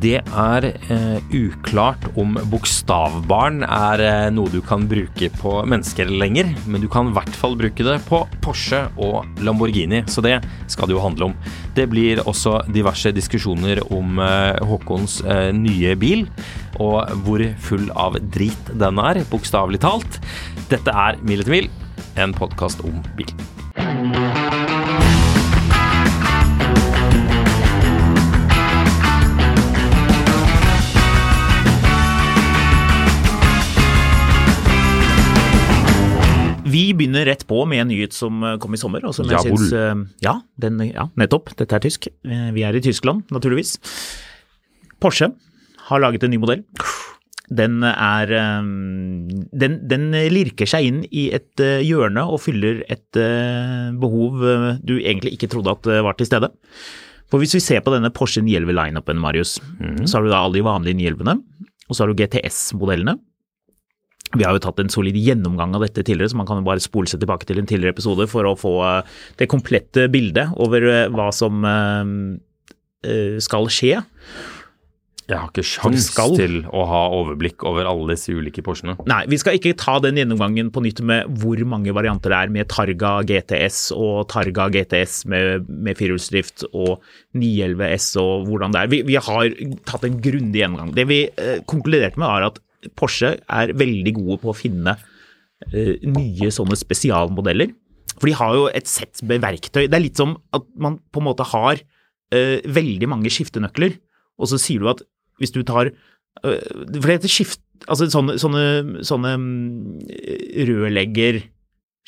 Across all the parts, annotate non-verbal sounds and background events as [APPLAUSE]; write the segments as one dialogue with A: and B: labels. A: Det er eh, uklart om bokstavbarn er eh, noe du kan bruke på mennesker lenger, men du kan i hvert fall bruke det på Porsche og Lamborghini, så det skal det jo handle om. Det blir også diverse diskusjoner om eh, Håkons eh, nye bil, og hvor full av drit den er, bokstavelig talt. Dette er Mil etter mil, en podkast om bil.
B: Vi begynner rett på med en nyhet som eh, kom i sommer. Og som jeg
A: Jawohl.
B: synes, eh, ja, den, ja, nettopp. Dette er tysk. Eh, Vi er i Tyskland, naturligvis. Porsche har laget en ny modell. Den er eh, Den, den lirker seg inn i et eh, hjørne og fyller et eh, behov eh, du egentlig ikke trodde at eh, var til stede. For hvis vi ser på denne Porsche 911-lineupen, Marius, så har du da alle de vanlige 911-ene, og så har du GTS-modellene. Vi har jo tatt en solid gjennomgang av dette tidligere, så man kan jo bare spole seg tilbake til en tidligere episode for å få eh, det komplette bildet over eh, hva som eh, eh, skal skje.
A: Jeg har ikke sjans
B: skal.
A: til å ha overblikk over alle disse ulike Porschene.
B: Nei, vi skal ikke ta den gjennomgangen på nytt med hvor mange varianter det er med Targa GTS og Targa GTS med, med firehjulsdrift og 911 S og hvordan det er. Vi, vi har tatt en grundig gjennomgang. Det vi eh, konkluderte med, er at Porsche er veldig gode på å finne eh, nye sånne spesialmodeller. For de har jo et sett med verktøy. Det er litt som at man på en måte har eh, veldig mange skiftenøkler, og så sier du at hvis du tar eh, For det heter skift... Altså sånne, sånne, sånne mm, rørlegger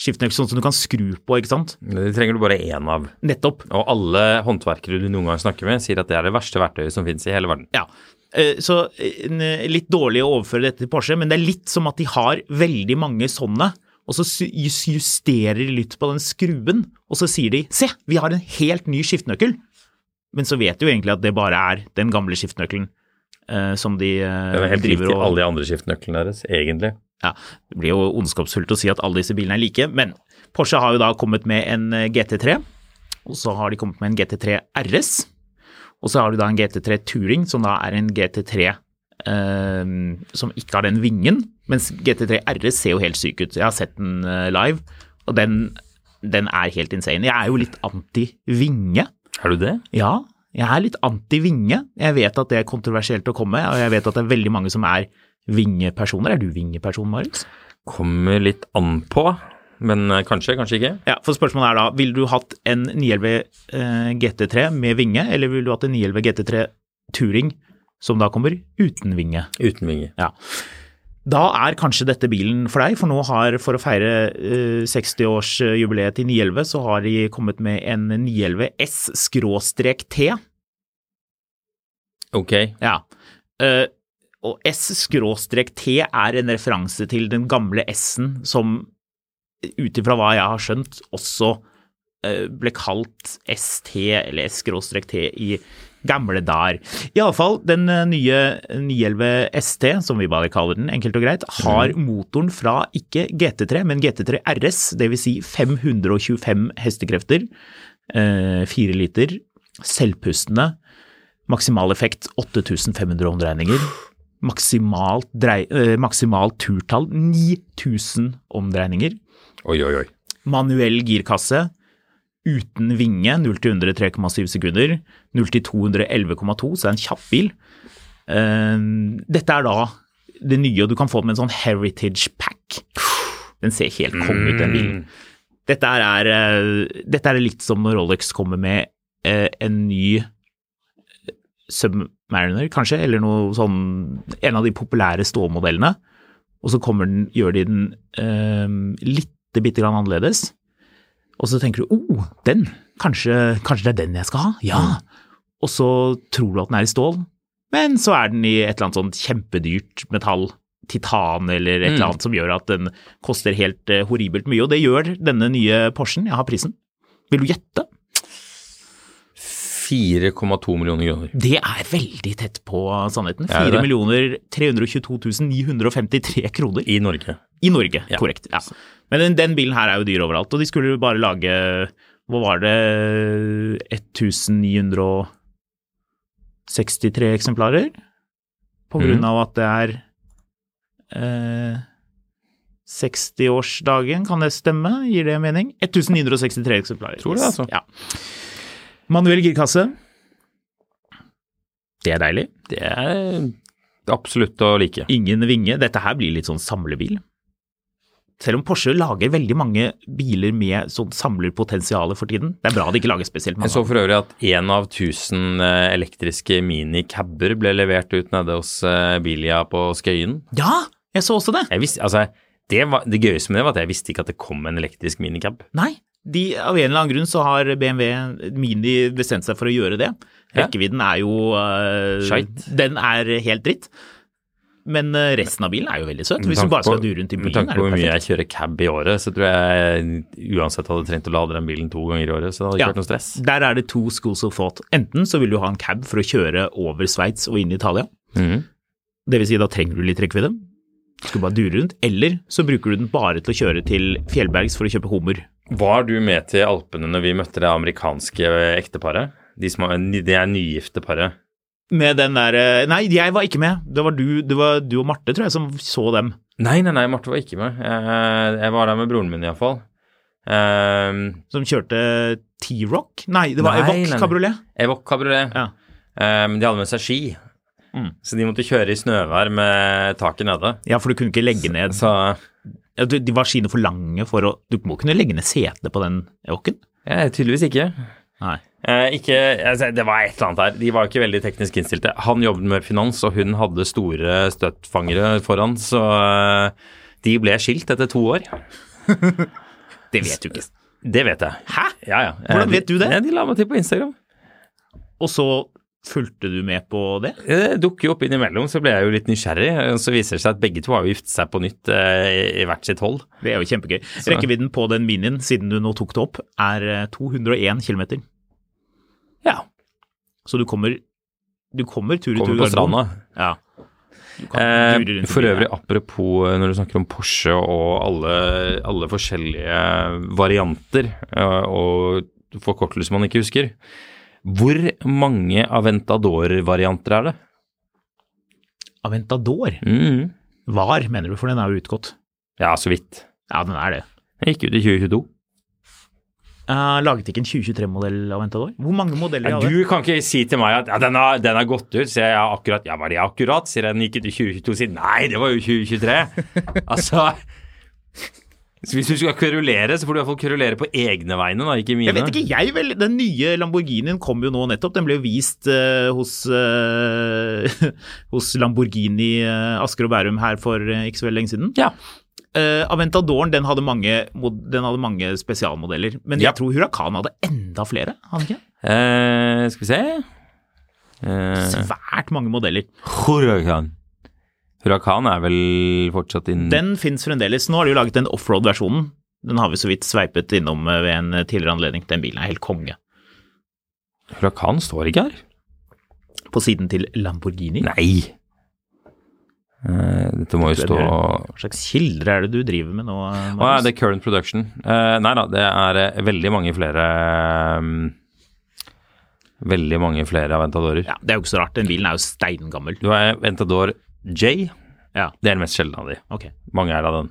B: skiftenøkler, sånn som du kan skru på, ikke sant?
A: Det trenger du bare én av.
B: Nettopp.
A: Og alle håndverkere du noen gang snakker med, sier at det er det verste verktøyet som finnes i hele verden.
B: Ja. Eh, Så en, eh, litt dårlig å overføre dette til Porsche, men det er litt som at de har veldig mange sånne. Og så sy- jus- justerer de litt på den skruen, og så sier de 'se, vi har en helt ny skiftenøkkel'. Men så vet du jo egentlig at det bare er den gamle skiftenøkkelen eh, som de eh,
A: Det er helt
B: driver
A: riktig,
B: og
A: alle de andre skiftenøklene deres, egentlig.
B: ja, Det blir jo ondskapsfullt å si at alle disse bilene er like, men Porsche har jo da kommet med en eh, GT3, og så har de kommet med en GT3 RS, og så har du da en GT3 Touring, som da er en GT3 eh, som ikke har den vingen, mens GT3 RS ser jo helt syk ut. Jeg har sett den eh, live, og den, den er helt insane. Jeg er jo litt anti-vinge.
A: Er du det?
B: Ja, jeg er litt anti-vinge. Jeg vet at det er kontroversielt å komme, og jeg vet at det er veldig mange som er vingepersoner. Er du vingeperson, Marius?
A: Kommer litt an på, men eh, kanskje, kanskje ikke.
B: Ja, for spørsmålet er da, ville du hatt en 911 eh, GT3 med vinge, eller ville du hatt en 911 GT3 Touring, som da kommer uten vinge?
A: Uten vinger.
B: Ja. Da er kanskje dette bilen for deg, for nå har, for å feire eh, 60-årsjubileet til 911, så har de kommet med en 911 S-T.
A: Ok.
B: Ja. Eh, og S-T er en referanse til den gamle S-en som, ut ifra hva jeg har skjønt, også eh, ble kalt ST eller S-T i gamle dager. Iallfall den eh, nye 911 ST, som vi bare kaller den, enkelt og greit, har motoren fra ikke GT3, men GT3 RS, dvs. Si 525 hestekrefter, eh, 4 liter, selvpustende, Maksimal effekt 8500 omdreininger. Maksimalt, drei, eh, maksimalt turtall 9000 omdreininger.
A: Oi, oi, oi.
B: Manuell girkasse. uten vinge. 0 til 100 3,7 sekunder. 0 til 200 11,2, så det er en kjapp bil. Eh, dette er da det nye, og du kan få den med en sånn heritage pack. Den ser helt konge ut, den
A: Mm.
B: bilen. Dette er, eh, dette er likt som når Rolex kommer med eh, en ny eh, Submariner, kanskje, eller noe sånn En av de populære ståmodellene. Og så kommer den, gjør de den eh, lite bitte grann annerledes. Og så tenker du oh, den, kanskje, kanskje det er den jeg skal ha? Ja! Og så tror du at den er i stål, men så er den i et eller annet sånt kjempedyrt metall. Titan eller et eller annet som gjør at den koster helt eh, horribelt mye. Og det gjør denne nye Porschen. Jeg har prisen. Vil du gjette?
A: 4,2 millioner kroner.
B: Det er veldig tett på sannheten.
A: Er det
B: 4
A: det?
B: millioner 322 953 kroner.
A: I Norge.
B: I Norge,
A: Ja.
B: korrekt. Ja. Men den, den bilen her er jo dyr overalt, og de skulle jo bare lage Hva var det 1963 eksemplarer? På grunn
A: Mhm.
B: av at det er eh, 60-årsdagen, kan det stemme? Gir det mening? 1963 eksemplarer.
A: Tror det,
B: Yes.
A: altså.
B: Ja. Manuell girkasse. Det er deilig.
A: Det er absolutt å like.
B: Ingen vinge. Dette her blir litt sånn samlebil. Selv om Porsche lager veldig mange biler med sånn samlerpotensial for tiden. Det er bra de ikke lager spesielt
A: Jeg
B: mange.
A: så for øvrig at én av 1000 eh, elektriske minicaber ble levert ut nede hos eh, Bilia på Skøyen.
B: Ja, jeg så også det!
A: Jeg visste, altså, det, var, det gøyeste med det var at jeg visste ikke at det kom en elektrisk minicab.
B: Nei, de, av en eller annen grunn så har BMW Mini bestemt seg for å gjøre det.
A: Ja.
B: Rekkevidden er jo eh,
A: Skeit.
B: Den er helt dritt. Men eh, resten av bilen er jo veldig søt. Hvis du bare skal dure rundt i
A: Med
B: byen,
A: tanke
B: er det
A: på hvor
B: jo
A: mye
B: perfekt.
A: jeg kjører cab i året, så tror jeg uansett hadde trengt å lade den bilen to ganger i året, så det hadde ikke
B: Ja.
A: vært noe stress.
B: Der er det to schools of thought. Enten så vil du ha en cab for å kjøre over Sveits og inn i Italia.
A: Mhm.
B: Det vil si, da trenger du litt rekkevidde. Du skal bare dure rundt. Eller så bruker du den bare til å kjøre til Fjellbergs for å kjøpe hummer.
A: Var du med til Alpene når vi møtte det amerikanske ekteparet? De som er, det er nygifte paret.
B: Med den derre Nei, jeg var ikke med. Det var du, det var du og Marte, tror jeg, som så dem.
A: Nei, nei, nei, Marte var ikke med. Eh, Jeg var der med broren min iallfall. Ehm,
B: Som kjørte T-Rock? Nei, det var
A: Nei, nei,
B: Evoc
A: nei.
B: kabriolet.
A: Evoc kabriolet.
B: Ja.
A: Ehm, de hadde med seg ski,
B: Mm.
A: så de måtte kjøre i snøvær med taket nede.
B: Ja, for du kunne ikke legge ned
A: Så
B: ja, du, De var skiene for lange for å Du må kunne legge ned setene på den Evocen?
A: eh, tydeligvis ikke.
B: Nei.
A: Eh, ikke altså, Det var et eller annet her. De var jo ikke veldig teknisk innstilte. Han jobbet med finans, og hun hadde store støttfangere foran, så eh, de ble skilt etter to år.
B: Det vet du ikke.
A: Det vet jeg.
B: Hæ?
A: Ja, ja. Eh,
B: Hvordan vet
A: de-
B: du det?
A: Nei, De la meg til på Instagram.
B: Og så fulgte du med på det?
A: Eh, Det dukker jo opp innimellom, så ble jeg jo litt nysgjerrig. eh, og Så viser det seg at begge to har jo giftet seg på nytt eh, i, i hvert sitt hold.
B: Det er jo kjempegøy. Rekkevidden på den minien, siden du nå tok det opp, er eh, 201 km.
A: Ja.
B: Så du kommer du kommer tur i tur.
A: Kommer på
B: Gardermoen.
A: stranda.
B: Ja. Du kan dure
A: Eh,
B: rundt i
A: for
B: byen.
A: øvrig, apropos eh, når du snakker om Porsche og alle, alle forskjellige varianter eh, og forkortelser man ikke husker. Hvor mange Aventador-varianter er det?
B: Aventador
A: Mhm.
B: var, mener du, for den er jo utgått.
A: Ja, så vidt.
B: Ja, den er det.
A: Den gikk ut i 2022.
B: Eh, laget ikke en 2023-modell Aventador? Hvor mange modeller
A: Ja,
B: hadde
A: du kan ikke si til meg at ja, den, har, den har gått ut, sier jeg ja, akkurat. Ja, var det akkurat? Sier jeg den gikk ut i 2022, sier nei, det var jo
B: [LAUGHS]
A: 2023. altså så Hvis du skal kverulere, så får du iallfall kverulere på egne vegne, da, ikke mine.
B: Jeg vet ikke, jeg vel. Den nye Lamborghinien kom jo nå nettopp. Den ble jo vist eh, hos, eh, [LAUGHS] hos Lamborghini eh, Asker og Bærum her for eh, ikke så veldig lenge siden.
A: Ja.
B: Eh, Aventadoren den hadde, mange, mod- den hadde mange spesialmodeller, men
A: Ja.
B: jeg tror Huracan hadde enda flere. Hadde den ikke?
A: Eh, skal vi se eh,
B: Svært mange modeller.
A: Hurakan. Hurakan er vel fortsatt innen
B: Den fins fremdeles. Nå har de jo laget den offroad-versjonen. Den har vi så vidt sveipet innom eh, ved en tidligere anledning. Den bilen er helt konge.
A: Hurakan står ikke her?
B: På siden til Lamborghini.
A: Nei. Eh, dette må jo
B: Det er
A: stå
B: Hva slags kilder er det du driver med nå?
A: Å
B: eh,
A: ja,
B: Magnus?
A: det er current production. Eh, nei da, det er eh, veldig mange flere mm, Veldig mange flere aventadorer.
B: Ja, det er jo ikke så rart. Den bilen er jo steingammel.
A: Du har Aventador J.
B: Ja.
A: Det er den mest sjeldne av de.
B: Ok,
A: Mange er det av den.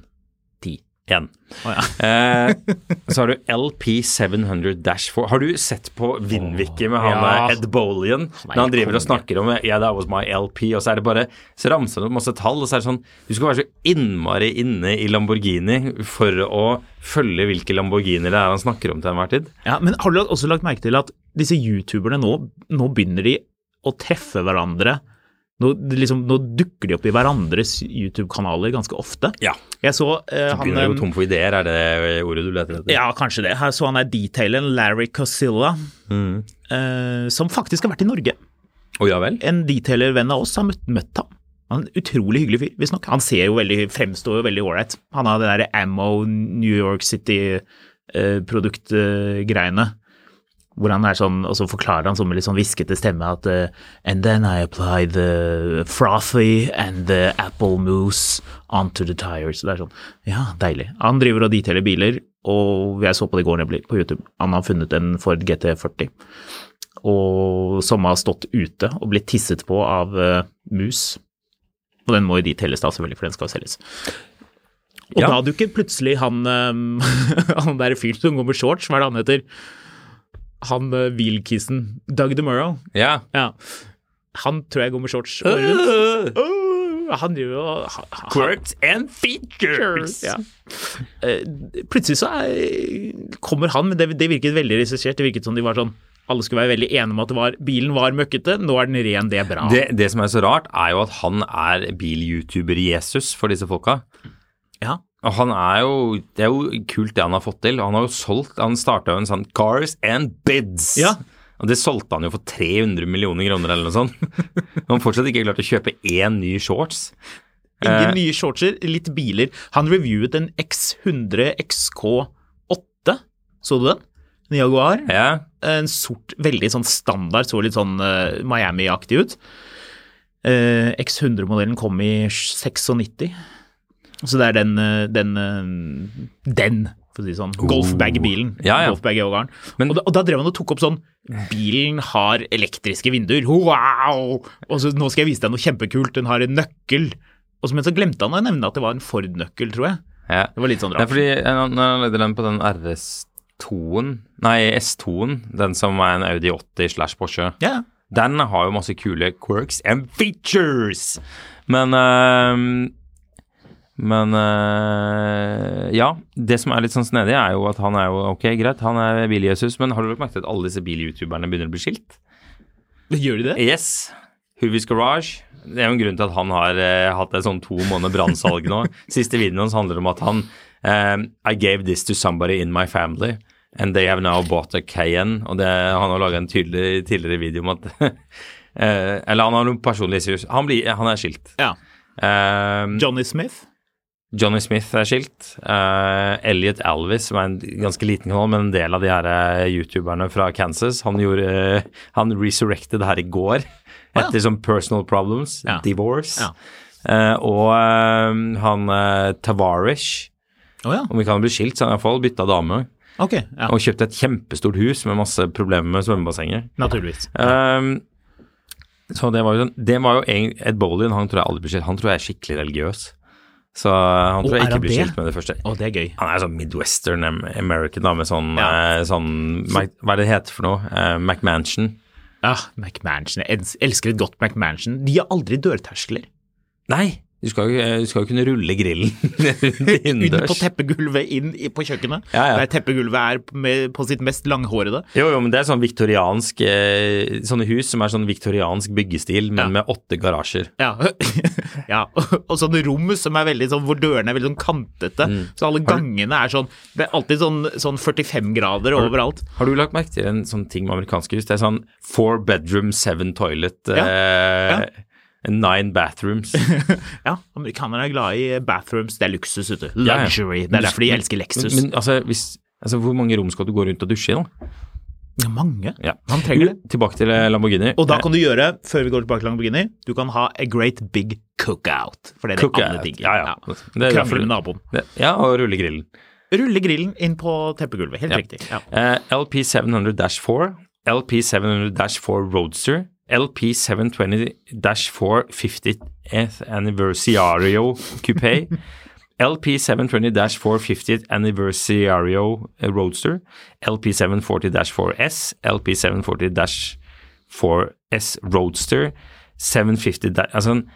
B: ti.
A: 1.
B: Å, ja.
A: Eh, så har du LP700-4. Har du sett på Vindvikke med han
B: Ja.
A: der Ed Bolian? Når han driver og snakker om Yeah, that was my LP, og så er det bare Så ramser han opp masse tall, og så er det sånn Du skal være så innmari inne i Lamborghini for å følge hvilke Lamborghini det er han snakker om til enhver tid.
B: Ja, men har du også lagt merke til at disse youtuberne nå, nå begynner de å treffe hverandre? Nå, liksom, nå dukker de opp i hverandres YouTube-kanaler ganske ofte.
A: Ja.
B: Jeg så eh, han
A: Begynner å gå
B: eh,
A: tom for ideer, er det ordet du leter etter?
B: Ja, kanskje det. Her så han er detaileren Larry Casilla,
A: Mm.
B: eh, som faktisk har vært i Norge.
A: Å ja vel?
B: En detailervenn av oss har møtt, møtt ham. Han er en utrolig hyggelig fyr, visstnok. Han ser jo veldig, fremstår jo veldig ålreit. Han har det der Ammo New York City-produktgreiene. hvor han er sånn, og så forklarer han sånn med litt sånn hviskete stemme at eh, And then I apply the frothy and the apple mousse onto the tires. Det er sånn, ja, deilig. Han driver og detailer biler, og jeg så på det i går nemlig på YouTube. Han har funnet en Ford GT40, og som har stått ute og blitt tisset på av eh, mus. Og den må jo detailles da, selvfølgelig, for den skal jo selges. Og
A: Ja.
B: da dukker plutselig han, eh, [LAUGHS] han der fyren som går med shorts, hva er det han heter? han eh, Wheelkissen, Doug DeMurrow,
A: Ja.
B: ja. han tror jeg går med shorts.
A: [LAUGHS]
B: og rundt. Åh, Han driver jo og ha- ha-
A: Quirks and features!
B: Ja. Eh, Plutselig så er, kommer han, men det, det virket veldig regissert. Det virket som de var sånn alle skulle være veldig enige om at det var, bilen var møkkete, nå er den ren, det er bra.
A: Det, det som er så rart, er jo at han er bil-youtuber-Jesus for disse folka.
B: Ja.
A: Og han er jo, Det er jo kult det han har fått til. Han har jo solgt Han starta jo en sånn Cars and Bids.
B: Ja.
A: Og det solgte han jo for 300 millioner kroner eller noe sånt. [LAUGHS] Han har fortsatt ikke klart å kjøpe én ny shorts.
B: Ingen nye shortser, litt biler. Han reviewet en X100 XK8, så du den? En Jaguar.
A: Ja,
B: en sort, veldig sånn standard, så litt sånn eh, Miami-aktig ut. Eh, X100-modellen kom i 96, så det er den, eh, den, eh, den, for å si det sånn, golfbag-bilen.
A: Oh. Ja, ja.
B: Golfbag i overgården.
A: Men-
B: og, da, og da drev han og tok opp sånn, bilen har elektriske vinduer, wow! Og så nå skal jeg vise deg noe kjempekult, den har en nøkkel. Og så, men så glemte han å nevne at det var en Ford-nøkkel, tror jeg.
A: ja.
B: Det var litt sånn
A: Det er
B: rart.
A: fordi eh, Når han leder den på den RS2-en Nei, S2-en, den som er en Audi 80 slash Porsche.
B: Ja, ja.
A: Den har jo masse kule quirks and features. Men ehm, Men eh, Ja. Det som er litt sånn snedig, er jo at han er jo Ok, greit, han er bil-Jesus, men har du lagt merke til at alle disse bil-youtuberne begynner å bli skilt?
B: Gjør de det?
A: Yes. Hoovies Garage. Det er jo en grunn til at han har eh, hatt et sånn to måneder brannsalg nå. Siste videoen hans handler om at han ehm, I gave this to somebody in my family. And they have now bought a Cayenne. Og det, han har laga en tydelig tidligere video om at [LAUGHS] eh, Eller han har noen personlige issues. Han, blir, han er skilt.
B: Ja.
A: Ehm,
B: Johnny Smith?
A: Johnny Smith er skilt. Eh, Elliot Alvis, som er en ganske liten kanal, men en del av de her eh, youtuberne fra Kansas, han gjorde eh, Han resurrected her i går etter sånn personal problems,
B: Ja.
A: divorce.
B: Ja.
A: Eh, og eh, han eh, Tavarish,
B: Å ja,
A: om ikke han ble skilt, så har han iallfall bytta dame.
B: ok. Ja.
A: Og kjøpte et kjempestort hus med masse problemer med svømmebassenger.
B: Naturligvis.
A: Ehm, så det var jo sånn Det var jo egentlig Ed Bolin, han tror jeg aldri blir skilt. Han tror jeg er skikkelig religiøs. Så eh, han tror
B: er
A: jeg ikke
B: han
A: blir
B: det?
A: skilt med det første.
B: Å, det er gøy.
A: Han er sånn midwestern am- American da, med sånn,
B: Ja.
A: eh, sånn Mac, Hva er det det heter for noe? Eh, McMansion?
B: Ja, McMansion. Jeg els- elsker et godt McMansion. De har aldri dørterskler.
A: Nei! Du skal, jo, eh, du skal jo kunne rulle grillen [LAUGHS] rundt
B: Inn på
A: innendørs.
B: teppegulvet, inn i- på kjøkkenet.
A: Ja, ja.
B: Der teppegulvet er med, på sitt mest langhårede.
A: Jo, jo, men det er sånn viktoriansk eh, Sånne hus som er sånn viktoriansk byggestil, men
B: Ja.
A: med åtte garasjer.
B: Ja. [LAUGHS] ja. [LAUGHS] Og sånne rom som er veldig sånn, hvor dørene er veldig sånn kantete.
A: Mm.
B: Så alle gangene er sånn Det er alltid sånn, sånn 45 grader overalt. [LAUGHS]
A: Har du lagt merke til en sånn ting med amerikanske hus? Det er sånn four bedroom, seven toilet,
B: Ja.
A: eh, nine [LAUGHS] bathrooms.
B: Ja, amerikanere er glad i bathrooms. Det er luksus, vet du.
A: Ja, ja.
B: Luxury. Det er derfor de
A: Men-
B: elsker Lexus.
A: Men, men altså, hvis, altså, hvor mange rom skal du gå rundt og dusje i, da?
B: Ja, mange.
A: Ja.
B: Han trenger det.
A: Tilbake til eh, Lamborghini.
B: Og da kan du gjøre, før vi går tilbake til Lamborghini, du kan ha a great big cookout. For det er det
A: Cookout,
B: alle digger.
A: ja, ja. Det er derfor-
B: Krangle med naboen.
A: Det- Ja, og rulle grillen.
B: Rulle grillen inn på teppegulvet. Helt
A: Ja.
B: riktig. Ja.
A: Eh, LP700-4, LP700-4 Roadster, [LAUGHS] LP720-4 50th Anniversario Coupé, LP720-450 Anniversario eh, Roadster, LP740-4S, LP740-4S Roadster, 750 da- altså, en-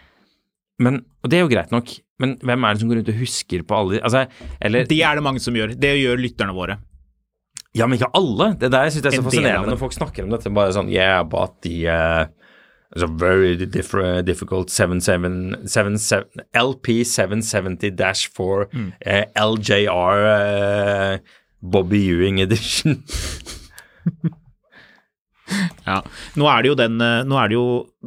A: men, Og det er jo greit nok, men hvem er det som går rundt og husker på alle de altså, eller,
B: Det er det mange som gjør. Det gjør lytterne våre.
A: Ja, men ikke alle! Det der jeg synes det er så
B: En del av
A: fascinerende
B: dem.
A: når folk snakker om dette. Bare sånn Yeah, but the uh, it's a very diff difficult 77 77 LP770-4
B: Mm.
A: eh, LJR eh, Bobby Ewing edition. [LAUGHS]
B: Ja. Nå er det jo den eh, Nå er det jo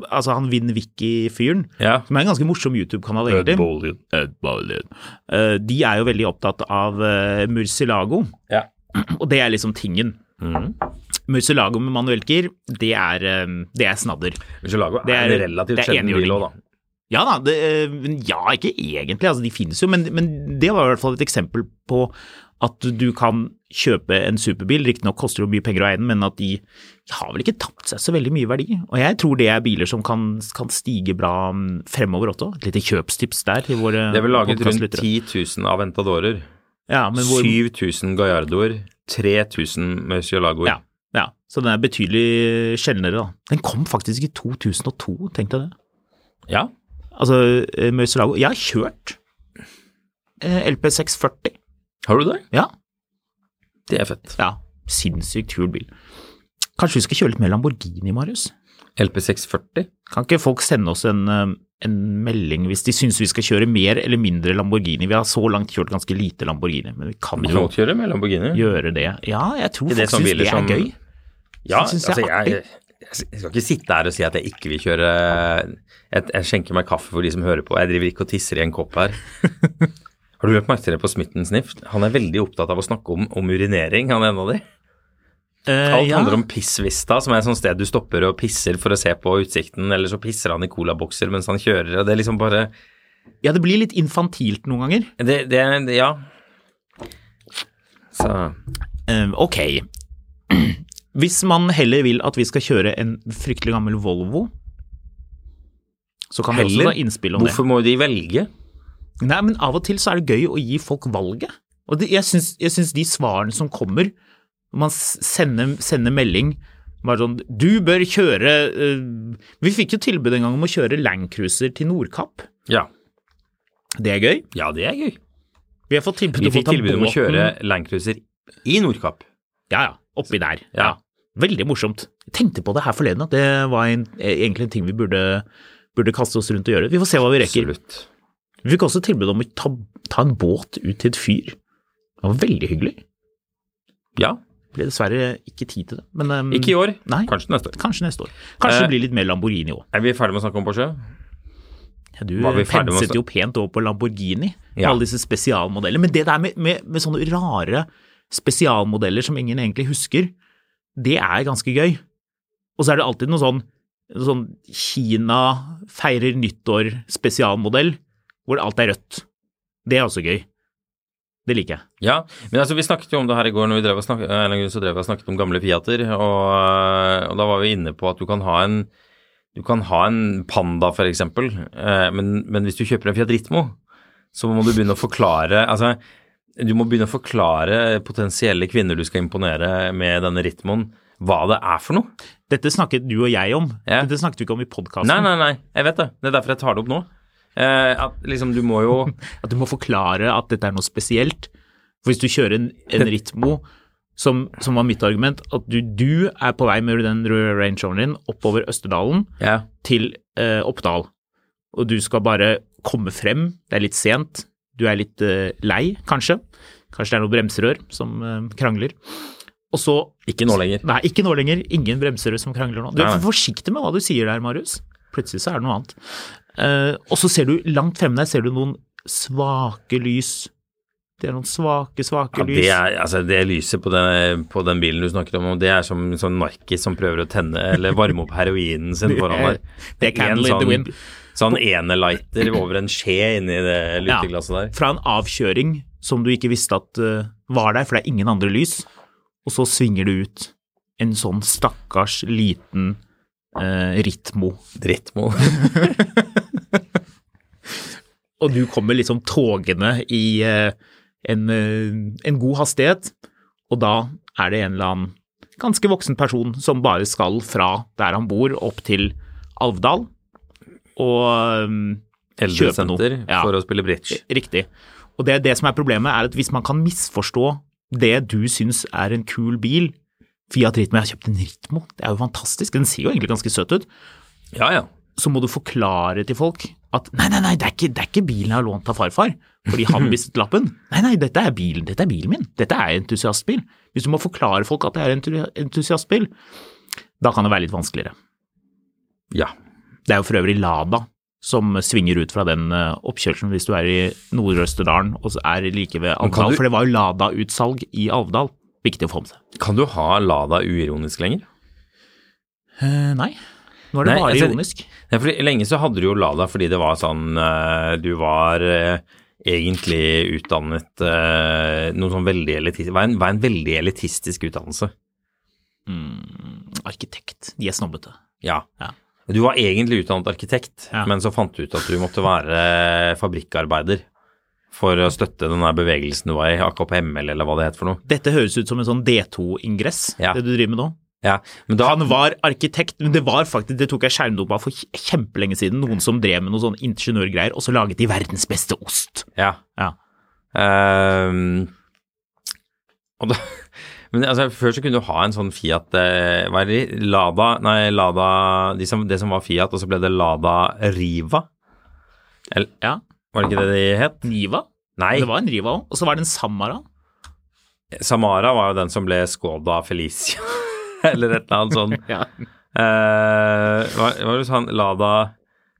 B: Altså, han Vinn Vicky-fyren,
A: Ja.
B: som er en ganske morsom YouTube-kanal, egentlig. Ed Bolian. Eh, De er jo veldig opptatt av eh, Murcielago,
A: Ja.
B: og det er liksom tingen.
A: Mhm.
B: Murcielago med manuelt gir, det er, eh, det er snadder.
A: Murcielago
B: Det
A: er,
B: er-
A: en relativt
B: det er
A: sjelden
B: enhjuling.
A: bil òg, da.
B: Ja da, det, eh, men ja, ikke egentlig, altså de finnes jo, men, men det var i hvert fall et eksempel på at du kan kjøpe en superbil, riktignok koster det jo mye penger å eie den, men at de har vel ikke tapt seg så veldig mye verdi. Og jeg tror det er biler som kan, kan stige bra mm, fremover også. Et lite kjøpstips der til våre
A: Det er vel laget rundt
B: podcastlyttere.
A: 10 000 Aventadorer,
B: ja, men hvor,
A: 7000 Gallardoer, 3000 Murcielagoer.
B: Ja, ja, så den er betydelig sjeldnere da. Den kom faktisk i 2002, tenkte jeg det.
A: Ja.
B: Altså, eh, Murcielago, jeg har kjørt eh, LP640,
A: Har du det?
B: ja.
A: Det er fett.
B: Ja, sinnssykt kul bil. Kanskje vi skal kjøre litt mer Lamborghini, Marius?
A: LP640?
B: Kan ikke folk sende oss en, eh, en melding hvis de syns vi skal kjøre mer eller mindre Lamborghini? Vi har så langt kjørt ganske lite Lamborghini, men vi kan
A: Du kan
B: jo
A: godt kjøre med Lamborghini.
B: gjøre det. Ja, jeg tror
A: Ikke det
B: folk
A: som
B: syns
A: biler
B: det er
A: som-
B: gøy.
A: Ja,
B: Så synes jeg
A: altså
B: det er
A: jeg, jeg skal ikke sitte her og si at jeg ikke vil kjøre jeg, jeg skjenker meg kaffe for de som hører på. Jeg driver ikke og tisser i en kopp
B: [LAUGHS]
A: her. Har du lagt merke til det på Smitten Sniff? Han er veldig opptatt av å snakke om, om urinering, han er en av de.
B: Eh,
A: Alt
B: ja.
A: handler om pissvista, som er et sånt sted du stopper og pisser for å se på utsikten, eller så pisser han i colabokser mens han kjører, og det er liksom bare
B: ja, det blir litt infantilt noen ganger.
A: Det, det er Ja. Så
B: Eh, ok. [CLEARS THROAT] Hvis man heller vil at vi skal kjøre en fryktelig gammel Volvo, så kan vi også
A: heller
B: ta innspill om det.
A: Hvorfor må de velge?
B: Nei, men av og til så er det gøy å gi folk valget. Og det, jeg, syns, jeg syns de svarene som kommer, når man s- sender, sender melding bare sånn Du bør kjøre eh, Vi fikk jo tilbud en gang om å kjøre Landcruiser til Nordkapp.
A: Ja.
B: Det er gøy.
A: Ja, det er gøy.
B: Vi har fått tilbud
A: Vi
B: om å
A: fikk
B: ta
A: tilbud om å
B: båten-
A: kjøre Landcruiser i Nordkapp.
B: Ja, ja. Oppi der.
A: Ja.
B: Ja. Veldig morsomt. Jeg tenkte på det her forleden, at det var en, eh, egentlig en ting vi burde, burde kaste oss rundt og gjøre. Vi får se hva vi rekker.
A: Absolutt.
B: Vi fikk også tilbud om å ta, ta en båt ut til et fyr. Det var veldig hyggelig.
A: Ja.
B: ble dessverre ikke tid til det. Men, um,
A: Ikke i år.
B: Nei, kanskje.
A: Kanskje neste.
B: neste år. Kanskje
A: Eh,
B: det blir litt mer Lamborghini òg.
A: Er vi ferdige med å snakke om Porsche?
B: Ja, du
A: var vi ferdig med å
B: penset
A: sn-
B: jo pent over på Lamborghini, med
A: Ja.
B: alle disse spesialmodellene. Men det der med, med, med sånne rare spesialmodeller som ingen egentlig husker, det er ganske gøy. Og så er det alltid noe sånn, sånn Kina feirer nyttår-spesialmodell, hvor alt er rødt. Det er også gøy. Det liker jeg.
A: Ja, men altså vi snakket jo om det her i går når vi drev og snakket, av en eller annen grunn så drev vi og snakket om gamle Fiater, og, og da var vi inne på at du kan ha en, du kan ha en Panda for eksempel, eh, men, men hvis du kjøper en Fiat Ritmo, så må du begynne å forklare, altså du må begynne å forklare potensielle kvinner du skal imponere med denne Ritmoen, hva det er for noe.
B: Dette snakket du og jeg om.
A: Ja.
B: Dette snakket vi ikke om i podkasten.
A: Nei, nei, nei, jeg vet det. Det er derfor jeg tar det opp nå. Eh, at liksom du må
B: [LAUGHS]
A: jo...
B: At du må forklare at dette er noe spesielt. For hvis du kjører en, en ritmo, som, som var mitt argument, at du, du er på vei med den røde Range Roveren din oppover Østerdalen
A: Ja.
B: til eh, Oppdal, og du skal bare komme frem, det er litt sent, du er litt eh, lei, kanskje. Kanskje det er noen bremserør som eh, krangler. Og så
A: Ikke nå lenger.
B: Nei, ikke nå lenger. Ingen bremserør som krangler nå. Du er
A: Nei, nei.
B: for forsiktig med hva du sier der, Marius. Plutselig så er det noe annet. Eh, og så ser du langt fremme der ser du noen svake lys. Det er noen svake, svake
A: Ja,
B: lys.
A: det, er, altså, det lyset på den, på den bilen du snakker om, og det er som en sånn narkis som prøver å tenne eller varme opp heroinen sin foran
B: er-
A: deg.
B: [LAUGHS] det er candle in the wind.
A: Sånn enelighter over en skje inni det lytteglasset der.
B: Fra en avkjøring som du ikke visste at eh, var der, for det er ingen andre lys, og så svinger du ut en sånn stakkars liten [LAUGHS] eh, Ritmo.
A: Drittmo.
B: og du kommer liksom togende i eh, en, eh, en god hastighet, og da er det en eller annen ganske voksen person som bare skal fra der han bor, opp til Alvdal, og eh, kjøpe noe.
A: Eldresenter
B: Ja.
A: for å spille bridge.
B: Riktig. Og det, det som er problemet, er at hvis man kan misforstå det du syns er en kul bil Fiat Ritmo, jeg har kjøpt en Ritmo, det er jo fantastisk, den ser jo egentlig ganske søt ut.
A: Ja, ja.
B: Så må du forklare til folk at nei, nei, nei, det er ikke, det er ikke bilen jeg har lånt av farfar fordi [LAUGHS] han mistet lappen. Nei, nei, dette er bilen, dette er bilen min, dette er entusiastbil. Hvis du må forklare folk at det er en entu- entusiastbil, da kan det være litt vanskeligere.
A: Ja.
B: Det er jo for øvrig Lada som svinger ut fra den eh, oppkjørselen hvis du er i Nord-Østerdalen og så er like ved
A: Men kan
B: Alvdal,
A: du-
B: for det var jo Lada-utsalg i Alvdal. Viktig å få med seg.
A: Kan du ha Lada uironisk lenger?
B: Eh, nei, nå er det
A: Nei,
B: bare
A: altså-
B: ironisk.
A: Ja, fordi Lenge så hadde du jo Lada fordi det var sånn eh, Du var eh, egentlig utdannet eh, noe sånn veldig elitistisk var, en- var en veldig elitistisk utdannelse.
B: mm, Arkitekt, de er snobbete.
A: Ja.
B: Ja.
A: Du var egentlig utdannet arkitekt,
B: Ja.
A: men så fant du ut at du måtte være eh, fabrikkarbeider for å støtte den der bevegelsen du var i, AKPML eller hva det het for noe.
B: Dette høres ut som en sånn D2-ingress,
A: Ja.
B: det du driver med nå.
A: Ja, men da,
B: Han var arkitekt, men det var faktisk, det tok jeg skjermen opp av for kjempelenge siden, noen som drev med noen sånn ingeniørgreier, og så laget de verdens beste ost.
A: ja.
B: Ja.
A: Ehm, og da, [LAUGHS] men altså, før så kunne du ha en sånn Fiat eh, Hva er det? Lada Nei, Lada de som, Det som var Fiat, og så ble det Lada Riva. Eller,
B: Ja.
A: var det ikke det de het?
B: Niva?
A: Nei,
B: Det var en Riva òg, og så var det en Samara.
A: Samara var jo den som ble Skoda Felicia, [LAUGHS] eller et eller annet sånn.
B: [LAUGHS] Ja.
A: Eh, hva, hva var det du sa? Lada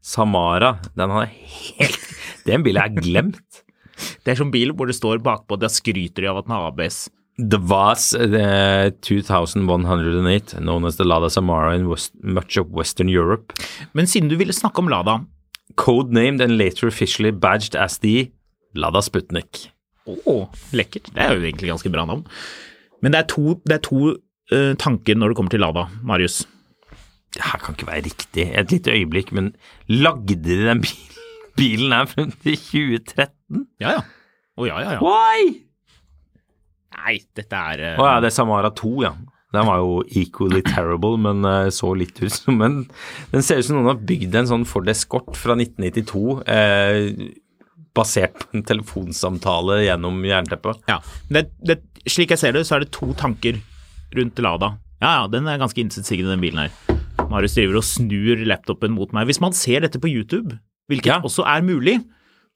A: Samara. Den har jeg helt Den bilen er glemt.
B: Det er som bil hvor det står bakpå, der skryter de av at den har ABS.
A: The Vaz eh, 2108, known as the Lada Samara in West, much of Western Europe,
B: Men siden du ville snakke om Lada,
A: codenamed and later officially badged as the Lada Sputnik.
B: å, lekkert, det er jo egentlig ganske bra navn. Men det er to, det er to eh, tanker når det kommer til Lada, Marius.
A: Det her kan ikke være riktig. Et lite øyeblikk, men lagde de den bilen? Bilen er frem til 2013.
B: Ja, ja. Å ja, ja, ja.
A: Why?
B: Nei, dette er eh,
A: Å ja, det er Samara 2, ja. Den var jo equally terrible, men eh, så litt ut [LAUGHS] som en Den ser ut som noen har bygd en sånn Ford Escort fra 1992 eh, basert på en telefonsamtale gjennom jernteppet.
B: Ja. Det, det, slik jeg ser det, så er det to tanker rundt Lada. Ja, ja, den er ganske intetsigende, den bilen her. Marius driver og snur laptopen mot meg. Hvis man ser dette på YouTube, hvilket
A: Ja.
B: også er mulig,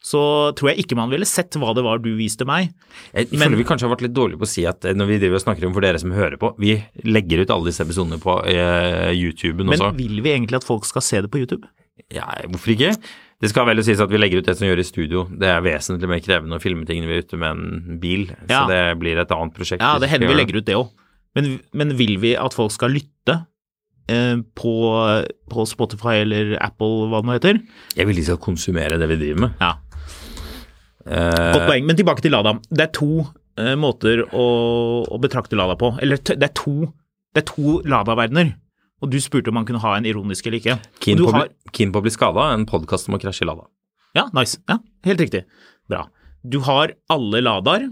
B: så tror jeg ikke man ville sett hva det var du viste meg.
A: Jeg
B: Men-
A: føler vi kanskje har vært litt dårlige på å si at eh, når vi driver og snakker om for dere som hører på, vi legger ut alle disse episodene på eh, YouTuben
B: Men
A: også.
B: vil vi egentlig at folk skal se det på YouTube?
A: Ja, hvorfor ikke? Det skal vel sies at vi legger ut det som gjør i studio. Det er vesentlig mer krevende å filme ting når vi er ute med en bil, så
B: Ja.
A: det blir et annet prosjekt.
B: Ja, det hender
A: ut
B: vi legger ut det òg. Men, men vil vi at folk skal lytte eh, på, på Spotify eller Apple, hva det nå heter?
A: Jeg vil de skal konsumere det vi driver med.
B: Ja,
A: Eh,
B: Godt poeng. Men tilbake til Lada. Det er to eh, måter å, å betrakte Lada på. Eller t det er to, det er to Lada-verdener. Og du spurte om man kunne ha en ironisk eller ikke. Og
A: Keen
B: du
A: på, å bli-
B: har-
A: keen på å bli skada, en podkast om å krasje i lada.
B: Ja, nice. Ja, helt riktig. Bra. Du har alle Ladaer.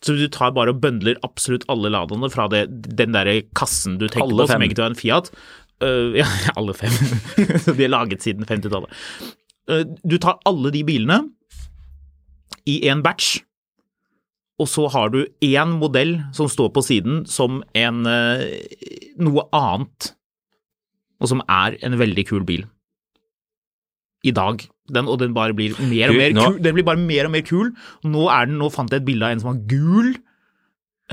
B: Så du tar bare og bøndler absolutt alle Ladaene fra det, den derre kassen du tenker
A: Alle
B: på, som
A: fem.
B: egentlig var en Fiat. Øh, ja, [LAUGHS] alle fem. Så de er laget siden 50-tallet. Øh, du tar alle de bilene i én batch, og så har du én modell som står på siden som en øh, noe annet, og som er en veldig kul bil. I dag. Den, og den bare blir mer og
A: Du,
B: mer
A: nå-
B: kul. Den blir bare mer og mer kul. Nå, er den, nå fant jeg et bilde av en som var gul.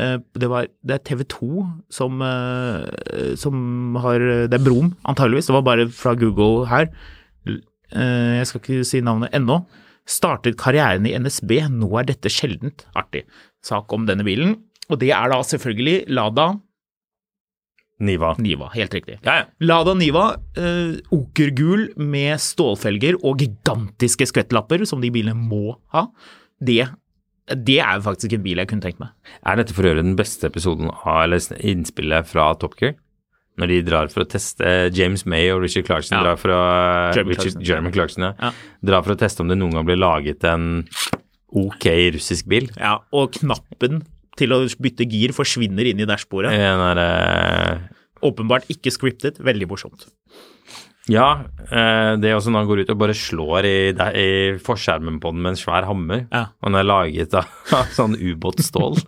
B: Eh, Det, var, det er TV 2 som, eh, som har Det er Brom, antageligvis. Det var bare fra Google her. Eh, Jeg skal ikke si navnet ennå. Startet karrieren i NSB, nå er dette sjeldent. Artig sak om denne bilen. Og det er da selvfølgelig Lada
A: Niva.
B: Niva. Helt riktig.
A: Ja, ja.
B: Lada Niva, eh, okergul med stålfelger og gigantiske skvettlapper, som de bilene må ha. Det, det er faktisk en bil jeg kunne tenkt meg.
A: Er dette for øvrig den beste episoden av, eller sn- innspillet fra Top Gear? når de drar for å teste eh, James May og Richard Clarkson
B: Ja.
A: drar for å eh,
B: Jeremy
A: Richard,
B: Clarkson.
A: Jeremy Clarkson ja.
B: Ja.
A: drar for å teste om det noen gang blir laget en ok russisk bil.
B: Ja, og knappen til å bytte gir forsvinner inn i dashbordet.
A: Den der, eh,
B: Åpenbart ikke scriptet, veldig morsomt.
A: ja, eh, det er også når han går ut og bare slår i, der- i forskjermen på den med en svær hammer.
B: Ja.
A: Og den er laget av, [LAUGHS] av sånn
B: [LAUGHS]
A: ubåtstål.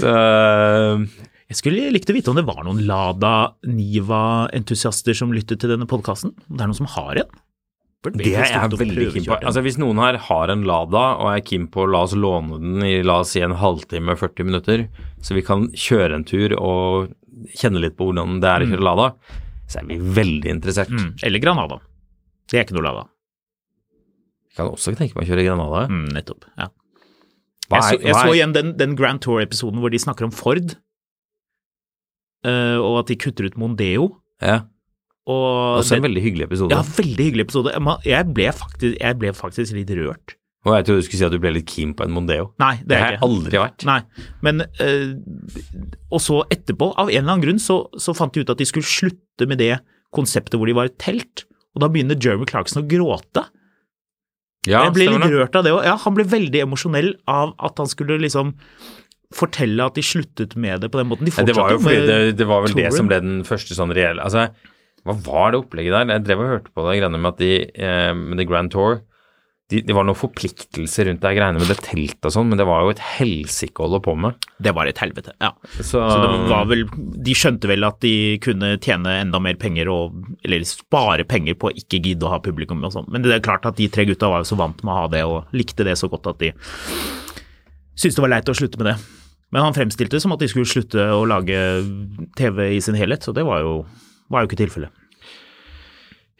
A: Så
B: Jeg skulle likt å vite om det var noen Lada Niva-entusiaster som lyttet til denne podkasten. Om det er noen som har en? Burde vi
A: Det er
B: egentlig
A: jeg
B: stått og
A: veldig keen på.
B: prøvekjørt en?
A: Altså Hvis noen her har en Lada og er keen på la oss låne den i la oss si en halvtime, 40 minutter, så vi kan kjøre en tur og kjenne litt på hvordan det er å kjøre Lada, så er vi veldig interessert.
B: Mm, eller Granada. Det er ikke noe Lada.
A: Jeg kan også tenke meg å kjøre Granada.
B: Mm, nettopp. Ja.
A: Hva
B: Jeg, så,
A: er-
B: jeg
A: hva
B: så
A: er-
B: igjen den, den Grand Tour-episoden hvor de snakker om Ford, eh, og at de kutter ut Mondeo.
A: ja,
B: Og
A: Også en
B: det-
A: veldig hyggelig episode.
B: ja, veldig hyggelig episode. Man- Jeg ble faktisk, jeg ble faktisk litt rørt.
A: Og jeg trodde du skulle si at du ble litt keen på en Mondeo.
B: Nei, det,
A: Det
B: er
A: har jeg
B: jeg ikke.
A: aldri vært.
B: Nei, men eh, Og så etterpå, av en eller annen grunn, så, så fant de ut at de skulle slutte med det konseptet hvor de var et telt. Og da begynner Jeremy Clarkson å gråte.
A: Ja,
B: jeg ble
A: stemmer
B: litt
A: det.
B: rørt av det òg. Ja, han ble veldig emosjonell av at han skulle liksom fortelle at de sluttet med det på den måten. De
A: Ja, Det var jo
B: fortsatte
A: fordi
B: med
A: det, det var vel det
B: touren.
A: som ble den første sånn reelle Altså, hva var det opplegget der? Jeg drev og hørte på det greiene med at de eh, med The Grand Tour de, Det var noen forpliktelser rundt det greiene med det teltet og sånn, men det var jo et helsike å holde på med.
B: Det var et helvete, ja.
A: Så,
B: Så
A: Um,
B: det var vel, De skjønte vel at de kunne tjene enda mer penger, og, eller spare penger på å ikke gidde å ha publikum og sånn. Men det er klart at de tre gutta var jo så vant med å ha det, og likte det så godt at de syntes det var leit å slutte med det. Men han fremstilte det som at de skulle slutte å lage TV i sin helhet, så det var jo, var jo ikke tilfellet.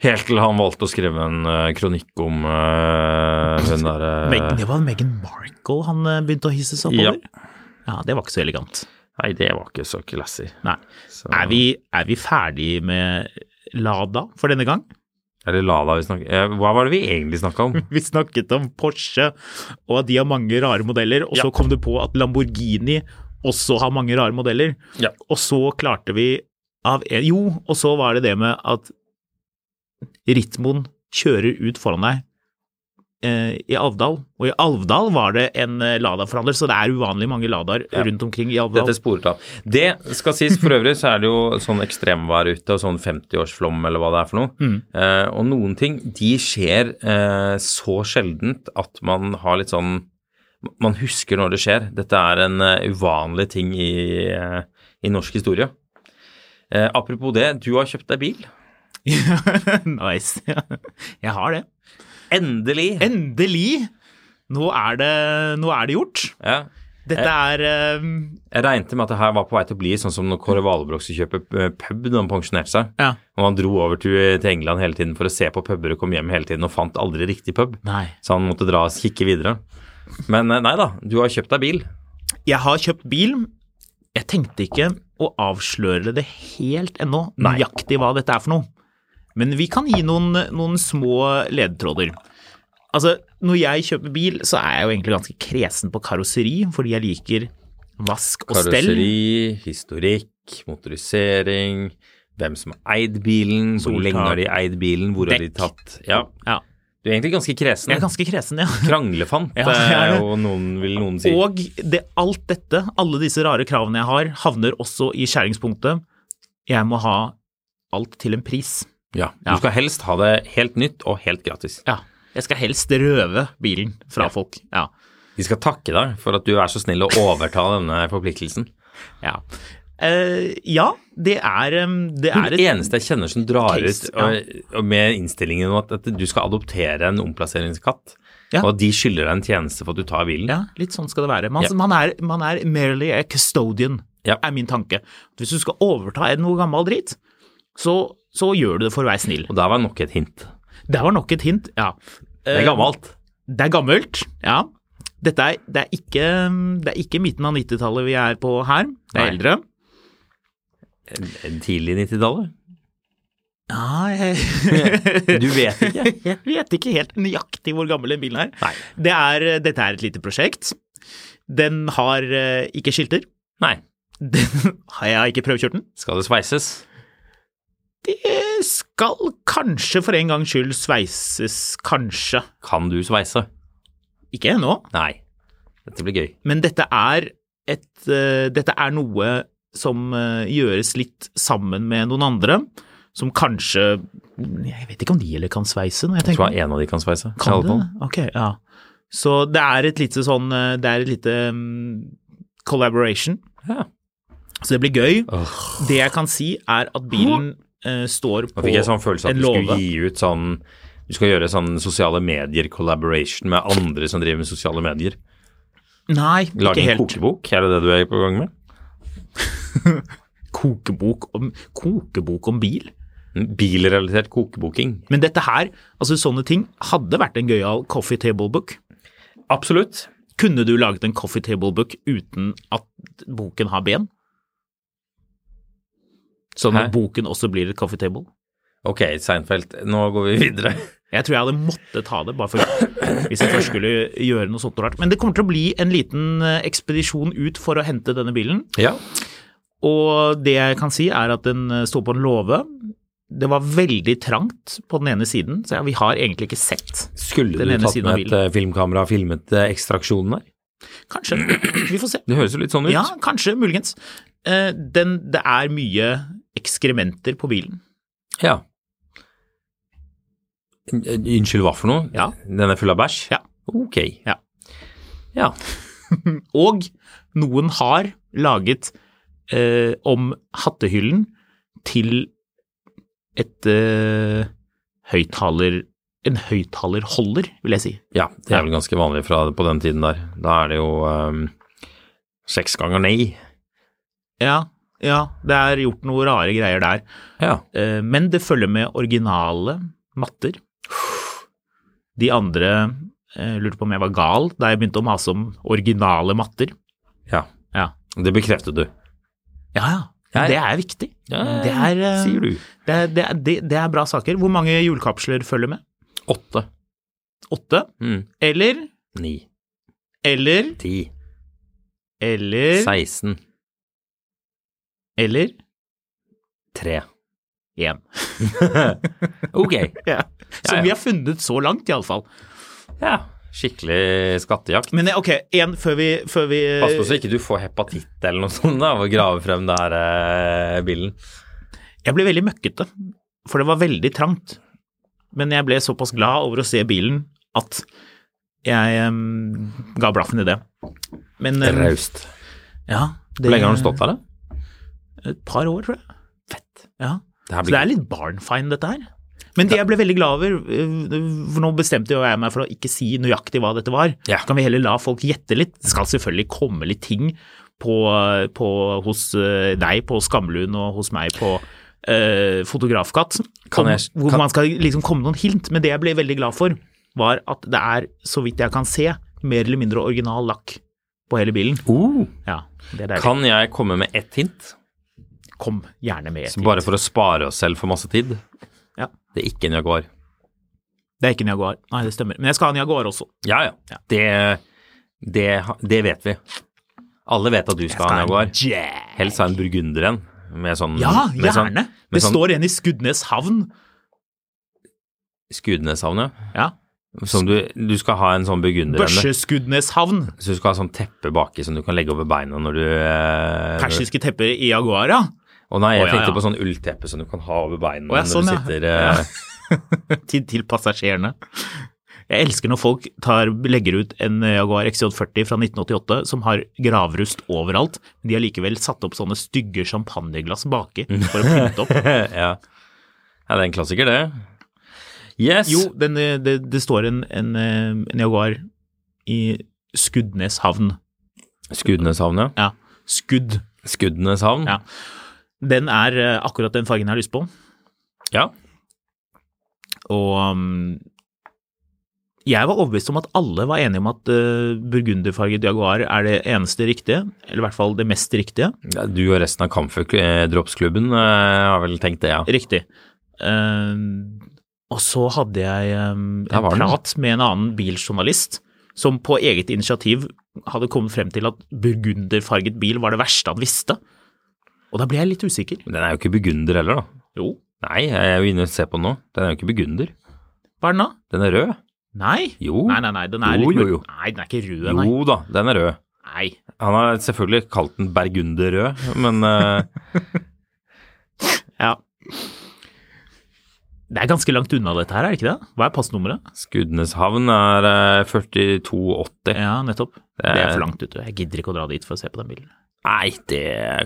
A: Helt til han valgte å skrive en eh, kronikk om eh, hun derre
B: Meg- Det var Meghan Markle han eh, begynte å hisse seg opp
A: Ja.
B: over. Ja, det var ikke så elegant.
A: Nei, det var ikke så classy.
B: Nei.
A: Så-
B: Er vi, er vi ferdig med Lada for denne gang?
A: Eller Lada vi snakket eh, Hva var det vi egentlig snakka om?
B: [LAUGHS] Vi snakket om Porsche og at de har mange rare modeller, og så kom du på at Lamborghini også har mange rare modeller.
A: Ja.
B: Og så klarte vi av Jo, og så var det det med at Ritmoen kjører ut foran deg eh, i Alvdal, og i Alvdal var det en eh, Lada-forhandler, så det er uvanlig mange Ladaer rundt omkring i Alvdal.
A: Dette sporet av. Det skal sies, for øvrig så er det jo sånn ekstremvær ute, og sånn 50-årsflom eller hva det er for noe. Eh, og noen ting, de skjer eh, så sjeldent at man har litt sånn Man husker når det skjer. Dette er en eh, uvanlig ting i, eh, i norsk historie. Eh, apropos det, du har kjøpt deg bil.
B: [LAUGHS] nice. Jeg har det.
A: Endelig!
B: Endelig! Nå er det, nå er det gjort.
A: ja.
B: Dette er eh,
A: Jeg regnet med at det her var på vei til å bli sånn som når Kåre Valbrok skulle kjøpe eh, pub da han pensjonerte seg.
B: Ja.
A: Og han dro over til, til England hele tiden for å se på puber og kom hjem hele tiden og fant aldri riktig pub.
B: Nei.
A: Så han måtte dra og kikke videre. Men eh, nei da, du har kjøpt deg bil.
B: Jeg har kjøpt bil. Jeg tenkte ikke å avsløre det helt ennå, nøyaktig hva dette er for noe. Men vi kan gi noen, noen små ledetråder. Altså, når jeg kjøper bil, så er jeg jo egentlig ganske kresen på karosseri, fordi jeg liker vask og stell.
A: Karosseri, historikk, motorisering, hvem som har eid bilen, hvor
B: Soltak.
A: lenge har de eid bilen, hvor har de
B: Dekk.
A: tatt Ja,
B: Ja,
A: du er egentlig ganske kresen.
B: jeg er ganske kresen, ja.
A: Kranglefant,
B: Ja, jeg er
A: eh,
B: det.
A: og noen vil noen si.
B: Og det, alt dette, alle disse rare kravene jeg har, havner også i skjæringspunktet. Jeg må ha alt til en pris.
A: ja, du
B: Ja.
A: skal helst ha det helt nytt og helt gratis.
B: Ja. Jeg skal helst røve bilen fra folk. Ja.
A: De skal takke deg for at du er så snill å overta denne forpliktelsen.
B: Ja, Eh, ja det er um, Det
A: Hun
B: er et
A: eneste jeg kjenner som drar ut
B: case, ja.
A: og- og med innstillingen om at, at du skal adoptere en omplasseringskatt,
B: Ja.
A: og at de skylder deg en tjeneste for at du tar bilen.
B: ja, litt sånn skal det være. Man,
A: Ja.
B: man, er, man er merely a custodian,
A: Ja.
B: er min tanke. Hvis du skal overta en noe gammel dritt, så, så gjør du det for å være snill.
A: Og der var nok et hint.
B: Det var nok et hint, ja.
A: Det
B: Eh,
A: er gammelt.
B: Det er gammelt, ja. Dette er, det, er ikke, det er ikke midten av 90-tallet vi er på her. Det er
A: Nei.
B: eldre.
A: En Tidlig 90-tallet.
B: Ja, jeg...
A: [LAUGHS] Du vet ikke.
B: [LAUGHS] Jeg vet ikke helt nøyaktig hvor gammel den bilen er.
A: Nei.
B: Det er, dette er et lite prosjekt. Den har eh, ikke skilter. [LAUGHS]
A: Nei.
B: Den, har jeg ikke prøvekjørt den?
A: Skal det sveises?
B: Det skal kanskje for en gangs skyld sveises, kanskje.
A: Kan du sveise?
B: Ikke ennå,
A: Nei. Dette blir gøy.
B: men dette er, et, eh, dette er noe som eh, gjøres litt sammen med noen andre, som kanskje Jeg vet ikke om de heller kan sveise. Når jeg
A: Jeg
B: tenker.
A: tror en av de kan sveise. i
B: Kan
A: alle
B: det?
A: fall.
B: det? Ok, ja. Så det er et lite sånn eh, Det er et lite mm, collaboration.
A: Ja.
B: Så det blir gøy. Det jeg kan si, er at bilen eh, står
A: Nå
B: på
A: fikk jeg sånn følelse at
B: en
A: du skulle
B: låve.
A: gi ut sånn Du skal gjøre sånn sosiale medier-collaboration med andre som driver med sosiale medier.
B: Nei,
A: Lage
B: ikke
A: en
B: helt.
A: kokebok, er det det du er på gang med?
B: Kokebok om, kokebok om bil?
A: En Bilrelatert kokeboking.
B: Men dette her, altså sånne ting, hadde vært en gøyal coffee table book.
A: Absolutt.
B: Kunne du laget en coffee table book uten at boken har ben? Sånn
A: Hæ?
B: at boken også blir et coffee table?
A: Ok, Seinfeld, nå går vi videre.
B: Jeg tror jeg hadde måttet ta det, bare for, hvis jeg først skulle gjøre noe sånt noe rart. Men det kommer til å bli en liten eh, ekspedisjon ut for å hente denne bilen.
A: Ja.
B: Og det jeg kan si, er at den eh, står på en låve. Det var veldig trangt på den ene siden, så ja, vi har egentlig ikke sett.
A: Skulle
B: Den
A: du
B: ene
A: tatt
B: siden av
A: med et eh, filmkamera og filmet eh, ekstraksjonen der?
B: Kanskje. Vi får se.
A: Det høres jo litt sånn ut.
B: Ja, kanskje, muligens. Eh, Den, det er mye ekskrementer på bilen.
A: Ja. Un- Unnskyld, hva for noe?
B: Ja.
A: Den er full av bæsj?
B: Ja.
A: Ok.
B: Ja.
A: Ja.
B: Og noen har laget eh, om hattehyllen til et eh, høyttaler En høyttalerholder, vil jeg si.
A: Ja, det er vel ganske vanlig fra, på den tiden der. Da er det jo ehm, seks ganger nei.
B: Ja, ja, det er gjort noen rare greier der.
A: Ja.
B: Eh, Men det følger med originale matter. De andre eh, lurte på om jeg var gal da jeg begynte å mase om originale matter.
A: ja.
B: Ja,
A: Det bekreftet du.
B: ja. ja.
A: Ja, ja.
B: Det er viktig.
A: Ja,
B: det er, eh,
A: sier du.
B: Det er, det, er, det, det er bra saker. Hvor mange julekapsler følger med?
A: Åtte.
B: Åtte?
A: Mm.
B: Eller
A: Ni.
B: Eller
A: Ti.
B: Eller
A: Seksten.
B: Eller
A: Tre.
B: én.
A: Ok. [LAUGHS]
B: Ja. Som
A: ja.
B: vi har funnet så langt, iallfall.
A: Ja. Skikkelig skattejakt.
B: Men eh, ok, én før vi, før vi
A: Pass på så ikke du får hepatitt eller noe sånt da, av å grave frem det her eh, bilen.
B: Jeg ble veldig møkkete, for det var veldig trangt. Men jeg ble såpass glad over å se bilen at jeg em, ga blaffen i det. Men em,
A: Raust.
B: ja, det-
A: Hvor lenge har den stått der, da?
B: Et par år, tror jeg. Fett. Ja.
A: Det her
B: Så det
A: blir
B: er litt barnfine, dette her. Men det jeg ble veldig glad over, eh, for nå bestemte jo jeg meg for å ikke si nøyaktig hva dette var.
A: Ja.
B: Så kan vi heller la folk gjette litt. Det skal selvfølgelig komme litt ting på, på, hos eh, deg på Skamlund og hos meg på eh, Fotografkatt.
A: Kan
B: om-
A: jeg-
B: hvor
A: kan-
B: man skal liksom komme noen hint. Men det jeg ble veldig glad for, var at det er, så vidt jeg kan se, mer eller mindre original lakk på hele bilen.
A: Oh.
B: Ja, det er deilig.
A: Kan jeg komme med ett hint?
B: Kom gjerne med.
A: Så bare for å spare oss selv for masse tid.
B: Ja.
A: Det er ikke en Jaguar.
B: Det er ikke en Jaguar. Nei, det stemmer. Men jeg skal ha en Jaguar også.
A: Ja, ja. Det, det, det vet vi. Alle vet at du skal ha en Jaguar.
B: Jaguar.
A: Helst ha en burgunder en. Med sånn,
B: Ja,
A: med sånn
B: gjerne. Det
A: sånn-
B: står en i Skudenes havn.
A: Skudeneshavn, ja.
B: Ja.
A: Som du, du skal ha en sånn burgunder en.
B: Børseskudenes havn.
A: Så du skal ha sånn teppe baki som du kan legge over beina når du eh, når-
B: Persiske tepper i Jaguar, ja. [LAUGHS]
A: Å nei, jeg
B: Å, ja,
A: tenkte
B: ja.
A: på sånn ullteppe som du kan ha over beina
B: Å, ja, sånn,
A: når
B: ja.
A: du sitter eh, [LAUGHS]
B: Til, til passasjerene. Jeg elsker når folk tar, legger ut en eh, Jaguar XJ40 fra 1988 som har gravrust overalt, men de har likevel satt opp sånne stygge champagneglass baki for å
A: [LAUGHS]
B: pynte opp.
A: ja. ja, det er en klassiker, det. Yes.
B: Jo, den, eh, det, det står en, en, eh, en Jaguar i Skudenes havn.
A: Skudeneshavn, ja.
B: Ja. Skudd.
A: Skudeneshavn.
B: Ja. Den er eh, akkurat den fargen jeg har lyst på.
A: ja.
B: Og um, jeg var overbevist om at alle var enige om at eh, burgunderfarget Jaguar er det eneste riktige, eller i hvert fall det mest riktige.
A: Ja, du og resten av Kampferdropsklubben eh, har vel tenkt det, ja.
B: Riktig. Eh, og så hadde jeg eh,
A: Der
B: en
A: var den.
B: prat med en annen biljournalist som på eget initiativ hadde kommet frem til at burgunderfarget bil var det verste han visste. Og da ble jeg litt usikker.
A: Men den er jo ikke burgunder heller, da.
B: Jo,
A: Nei, jeg er jo inne og ser på den nå. Den er jo ikke burgunder.
B: hva er den da?
A: Den er rød.
B: Nei.
A: Jo.
B: Nei, nei, nei, den er
A: Jo,
B: litt
A: jo,
B: mørk-
A: jo.
B: Nei, den er ikke rød, nei.
A: Jo da, den er rød.
B: nei.
A: Han har selvfølgelig kalt den bergunderrød, men eh, [LAUGHS]
B: Ja. Det er ganske langt unna dette her, er det ikke det? Hva er passnummeret?
A: Skudeneshavn er eh, 4280.
B: Ja, nettopp. Eh, Det er for langt ute. Jeg gidder ikke å dra dit for å se på den bilen.
A: Nei, det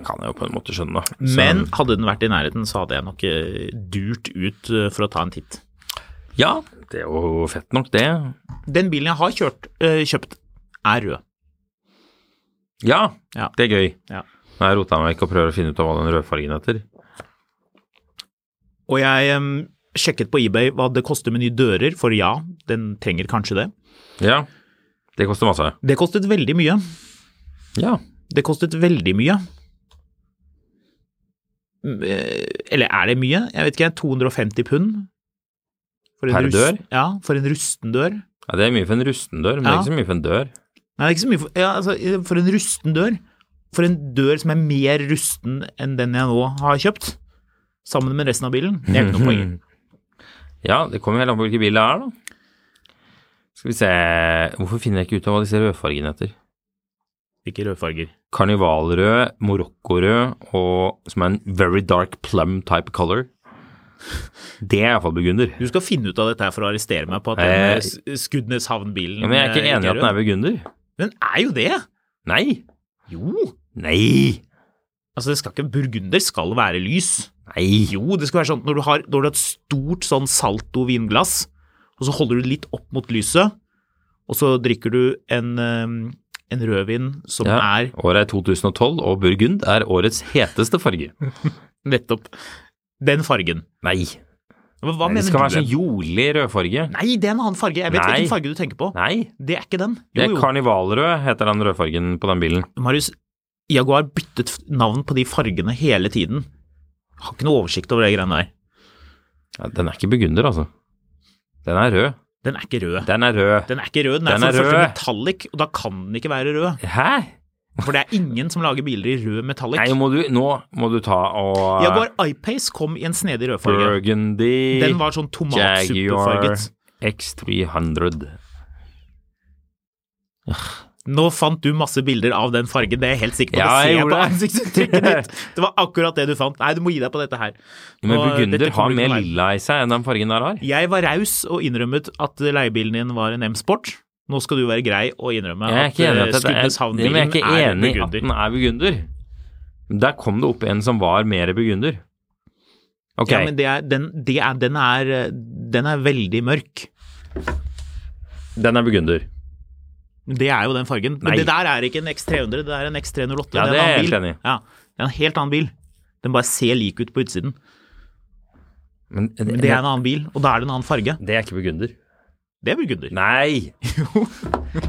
A: kan jeg jo på en måte skjønne. Så-
B: Men hadde den vært i nærheten, så hadde jeg nok eh, durt ut eh, for å ta en titt.
A: Ja, det er jo fett nok, det.
B: Den bilen jeg har kjørt, eh, kjøpt, er rød.
A: Ja,
B: Ja.
A: det er gøy.
B: Ja.
A: Nå har jeg rota meg ikke og prøver å finne ut av hva den rødfargen heter.
B: Og jeg em, sjekket på eBay hva det koster med nye dører, for ja, den trenger kanskje det.
A: Ja, det koster masse.
B: Det kostet veldig mye.
A: Ja.
B: Det kostet veldig mye. Mm, eh, Eller er det mye? Jeg vet ikke, 250 pund. For en
A: Per dør?
B: Ja, for en rusten dør.
A: ja det er mye for en rusten dør, men det
B: Ja.
A: er ikke så mye for en dør.
B: Nei, det er ikke så mye for, ja, altså, eh, for en rusten dør. For en dør som er mer rusten enn den jeg nå har kjøpt. Sammen med resten av bilen. Det er ikke noe
A: [LAUGHS]
B: poeng.
A: Ja, det kommer helt an på hvilken bil det er, da. Skal vi se Hvorfor finner jeg ikke ut av hva disse rødfargene heter?
B: Ikke rødfarger.
A: Karnivalrød, morokkorød og som er en very dark plum type color. Det er iallfall burgunder.
B: Du skal finne ut av dette her for å arrestere meg på at
A: Eh,
B: den eh, Skudeneshavn-bilen
A: Ja, men jeg er ikke
B: eh,
A: enig i at den
B: rød.
A: er burgunder.
B: Den er jo det!
A: Nei.
B: Jo!
A: Nei.
B: Altså, det skal ikke Burgunder skal være lys.
A: Nei.
B: Jo, det skal være sånn at når du har, når du har et stort sånn salto vinglass, og så holder du det litt opp mot lyset, og så drikker du en, eh, en rødvin som
A: Ja,
B: er
A: Året er 2012, og burgund er årets heteste farge.
B: nettopp den fargen.
A: Nei.
B: Men hva
A: Nei, det
B: mener
A: skal
B: du?
A: være sånn jolig rødfarge.
B: Nei, det er en annen farge. Jeg vet
A: Nei.
B: hvilken farge du tenker på.
A: Nei.
B: Det er ikke den.
A: Det
B: Jo,
A: er
B: jo.
A: karnivalrød, heter den rødfargen på den bilen.
B: Marius, Jaguar byttet f- navn på de fargene hele tiden. Har ikke noe oversikt over det greiene der.
A: Ja, den er ikke burgunder, altså. Den er rød.
B: Den er ikke rød.
A: Den er rød.
B: Den er ikke rød, den er,
A: Den er
B: for det første
A: rød.
B: metallic, og da kan den ikke være rød.
A: Hæ?
B: For det er ingen som lager biler i rød metallic.
A: Nei, må du, nå må du ta og
B: Jaguar iPace kom i en snedig rødfarge.
A: Burgundy
B: Den var sånn
A: Jaguar
B: tomatsuppefarget.
A: X300.
B: Nå fant du masse bilder av den fargen, det er jeg helt sikker på.
A: Ja,
B: det
A: jeg
B: ser jeg på
A: gjorde det.
B: ansiktsuttrykket
A: [LAUGHS]
B: ditt. Det var akkurat det du fant. Nei, du må gi deg på dette her.
A: Men
B: Og
A: burgunder
B: dette kommer
A: har
B: du ikke
A: mer
B: noe vei.
A: lilla i seg enn den fargen der har.
B: Jeg var raus og innrømmet at leiebilen din var en M-sport. Nå skal du være grei og innrømme
A: Jeg er
B: at
A: ikke enig i at, det
B: eh,
A: er, Nei, men jeg er,
B: Skudeneshavn-bilen
A: ikke
B: er
A: enig i at
B: burgunder.
A: den er burgunder. Der kom det opp en som var mer burgunder. Ok,
B: Ja, men det er, den, det er, den, er, eh, den er veldig mørk.
A: den er burgunder.
B: Det er jo den fargen.
A: Nei.
B: Men det der er ikke en X300, det er en X308.
A: Ja, det
B: en
A: er
B: annen
A: jeg helt
B: bil.
A: enig i.
B: Ja, det er en helt annen bil. Den bare ser lik ut på utsiden.
A: Men,
B: Men det er en annen bil, og da er det en annen farge.
A: det er ikke burgunder.
B: Det er burgunder. [LAUGHS]
A: Nei!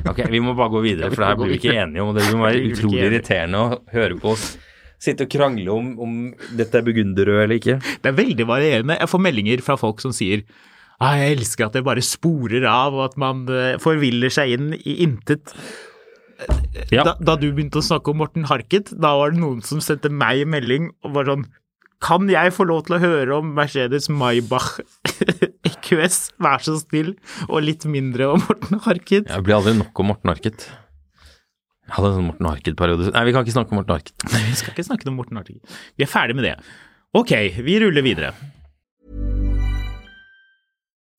A: Ok, vi må bare gå videre, for det her blir vi ikke enige om. og Det vil være
B: [LAUGHS] Vi blir ikke
A: utrolig
B: enige.
A: irriterende å høre på oss sitte og krangle om om dette er burgunderrød eller ikke.
B: Det er veldig varierende. Jeg får meldinger fra folk som sier ah, jeg elsker at det bare sporer av, og at man eh, forviller seg inn i intet.
A: Ja.
B: Da, da du begynte å snakke om Morten Harket, da var det noen som sendte meg melding og var sånn Kan jeg få lov til å høre om Mercedes Maybach [LAUGHS] EQS, vær så snill, og litt mindre om Morten Harket?
A: Jeg blir aldri nok om Morten Harket. Jeg hadde en sånn Morten Harket-periode. Nei, vi kan ikke snakke om Morten Harket.
B: Vi skal ikke snakke om Morten Harket. Vi er ferdig med det. Ok, vi ruller videre.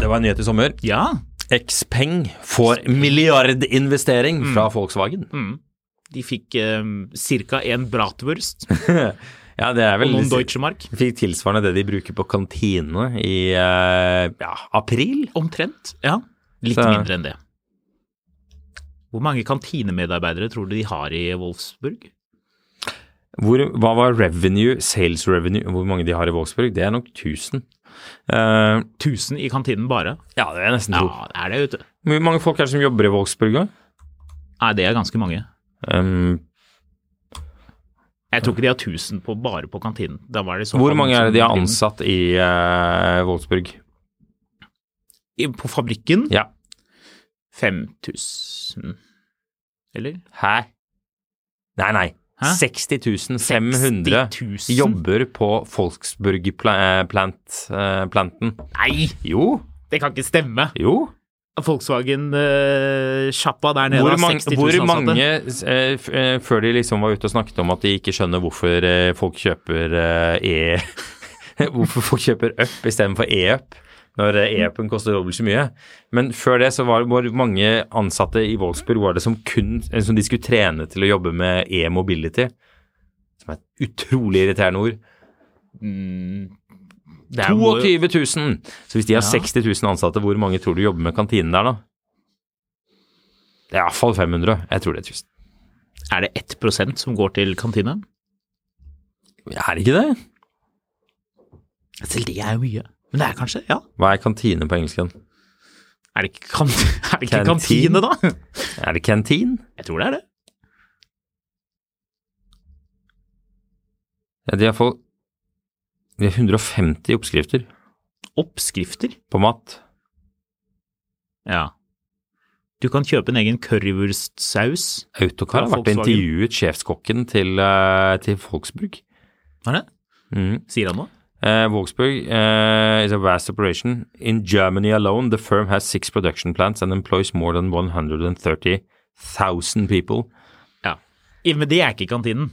A: Det var en nyhet i sommer.
B: Ja.
A: Xpeng får milliardinvestering fra
B: Mm.
A: Volkswagen.
B: De fikk um, ca. en bratwurst
A: Ja, det er
B: og
A: vel
B: noen Deutsche Mark.
A: Fikk tilsvarende det de bruker på kantinene i eh, ja, april.
B: Omtrent. Ja. Litt
A: Så-
B: mindre enn det. Hvor mange kantinemedarbeidere tror du de har i Wolfsburg?
A: Hvor, hva var revenue, sales revenue, hvor mange de har i Wolfsburg? Det er nok 1000. Eh,
B: 1000 i kantinen bare?
A: ja, det er jeg nesten
B: Ja,
A: to.
B: det er det, vet du.
A: Hvor mange folk er det som jobber i Wolfsburg? da?
B: Nei, det er ganske mange.
A: Um,
B: Jeg tror ikke de har 1000 på, bare på kantinen. Da var det i så
A: hvor
B: fall
A: mange er
B: noen som-
A: det de har ansatt i eh, Wolfsburg?
B: I- På fabrikken?
A: Ja.
B: 5000 Eller?
A: Hæ? Nei, nei.
B: Hæ?
A: 60 500
B: 60 000?
A: jobber på Volksburg pla- plant, eh, planten.
B: Nei,
A: Jo,
B: det kan ikke stemme!
A: jo.
B: Volkswagen-sjappa der nede
A: Hvor
B: har
A: mange,
B: 60 000
A: hvor
B: ansatte.
A: mange eh, f- eh, før de liksom var ute og snakket om at de ikke skjønner hvorfor eh, folk kjøper eh, e... [LAUGHS] hvorfor folk kjøper up istedenfor e-up, når eh, e-upen koster dobbelt så mye. Men før det så var det hvor mange ansatte i Wolfsburg var det som, kun, eh, som de skulle trene til å jobbe med e-mobility, som er et utrolig irriterende ord.
B: Det er jo-
A: 22 000! Så hvis de har
B: Ja.
A: 60 000 ansatte, hvor mange tror du jobber med kantinen der, da? Det er iallfall 500. Jeg tror det er 1000.
B: Er det 1 som går til kantine?
A: Er det ikke det?
B: Selv det er jo mye. Men det er kanskje, ja.
A: Hva er kantine på engelsk? igjen?
B: Er det ikke, kan, [LAUGHS] er det ikke
A: Kantin?
B: kantine, da?
A: Er det canteen?
B: Jeg tror det er det.
A: Ja, de har fått de har 150 oppskrifter
B: Oppskrifter.
A: på mat.
B: Ja. Du kan kjøpe en egen currywurstsaus.
A: Autocar
B: Ja,
A: har vært og
B: Volkswagen.
A: intervjuet sjefskokken til, eh, til Volksburg.
B: Hva er det?
A: Mm.
B: Sier han noe?
A: Uh, Wolfsburg uh, is a vast operation. In Germany alone, the firm has six production plants and employs more than 130,000 people.
B: Ja. I- Men det er ikke kantinen.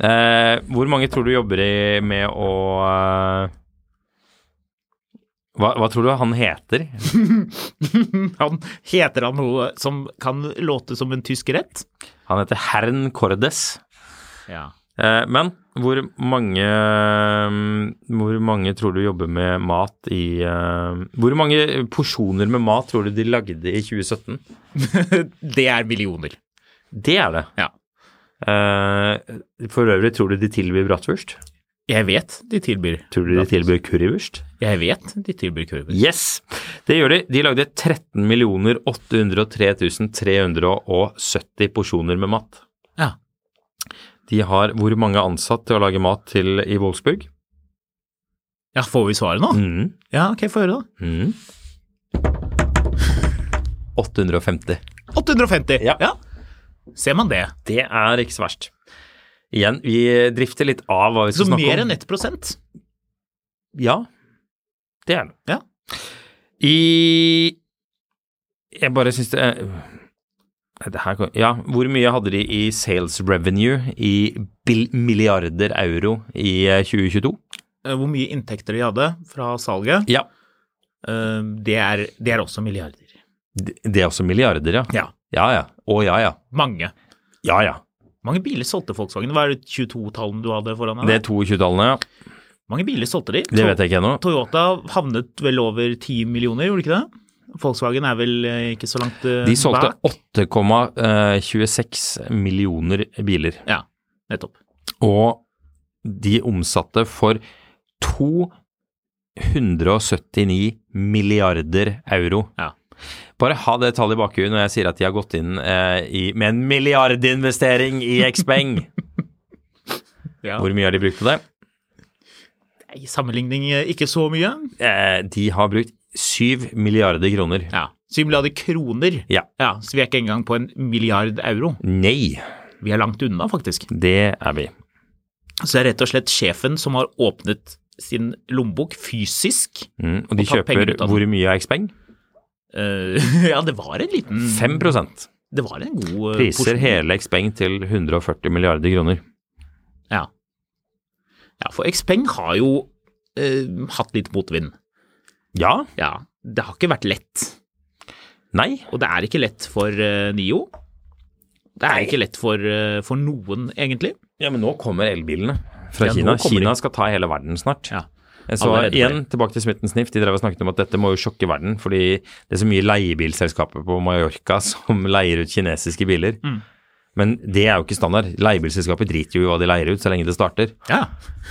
A: Eh, hvor mange tror du jobber i med å eh, hva, hva tror du han heter?
B: Han heter han noe som kan låte som en tysk rett?
A: Han heter Herren Cordes.
B: Ja.
A: Eh, men hvor mange mm, Hvor mange tror du jobber med mat i eh, Hvor mange porsjoner med mat tror du de lagde i 2017?
B: [LAUGHS] Det er millioner.
A: Det er det.
B: Ja.
A: Eh, for øvrig, tror du de tilbyr bratwurst?
B: Jeg vet de tilbyr
A: Tror du de tilbyr currywurst?
B: Jeg vet de tilbyr kurver.
A: Yes! Det gjør de. De lagde 13 803 370 porsjoner med mat.
B: Ja.
A: De har hvor mange ansatt til å lage mat til i Wolfsburg?
B: ja, får vi svaret nå?
A: Mm.
B: Ja, ok, få høre, da.
A: Mm. 850.
B: 850!
A: Ja.
B: Ser man det.
A: Det er ikke så verst. Igjen, vi drifter litt av hva vi
B: Så
A: skal snakke om.
B: mer enn 1 prosent.
A: Ja, det er det.
B: Ja.
A: I Jeg bare syns det er det her, kan- ja, Hvor mye hadde de i sales revenue i bil, milliarder euro i eh, 2022?
B: Eh, Hvor mye inntekter de hadde fra salget,
A: Ja.
B: eh, det er, det er også milliarder.
A: Det det er også milliarder, ja.
B: Ja.
A: Ja ja. Å ja ja.
B: Mange.
A: Ja ja.
B: Mange biler solgte Volkswagen. Hva er det 22-tallene du hadde foran deg?
A: Det er 22-tallene, ja.
B: Mange biler solgte de.
A: Det vet jeg ikke ennå.
B: Toyota havnet vel over 10 millioner, gjorde de ikke det? Volkswagen er vel eh, ikke så langt eh,
A: De solgte
B: bak.
A: 8,26 millioner biler.
B: Ja, nettopp.
A: Og de omsatte for 279 milliarder euro.
B: Ja.
A: Bare ha det tallet i bakhuet når jeg sier at de har gått inn eh, i, med en milliardinvestering i Xpeng.
B: [LAUGHS] Ja.
A: Hvor mye har de brukt på det?
B: I sammenligning eh, ikke så mye.
A: Eh, de har brukt 7 milliarder kroner.
B: Ja. 7 milliarder kroner.
A: Ja.
B: Så vi er ikke engang på en milliard euro.
A: Nei.
B: Vi er langt unna, faktisk.
A: Det er vi.
B: Så det er rett og slett sjefen som har åpnet sin lommebok fysisk.
A: Mm, og de
B: Og ta penger
A: kjøper
B: ut av
A: hvor mye av Xpeng?
B: Eh, [LAUGHS] ja, det var en liten
A: 5
B: Det var en god Mm. eh,
A: Priser
B: porsjon.
A: hele Xpeng til 140 milliarder kroner.
B: Ja. ja, for Xpeng har jo eh, hatt litt motvind.
A: Ja?
B: Ja, det har ikke vært lett.
A: Nei?
B: Og det er ikke lett for eh, Nio. Det er ikke lett for, eh, for noen, egentlig.
A: Ja, men nå kommer elbilene fra
B: Ja, nå
A: Kina.
B: kommer
A: Kina
B: de.
A: skal ta hele verden snart.
B: Ja.
A: Jeg så
B: Alle er redde for
A: igjen tilbake til Smitten Sniff. De drev og snakket om at dette må jo sjokke verden, fordi det er så mye leiebilselskaper på Mallorca [LAUGHS] som leier ut kinesiske biler. Men det er jo ikke standard. Leiebilselskaper driter jo i hva de leier ut, så lenge det starter.
B: Ja.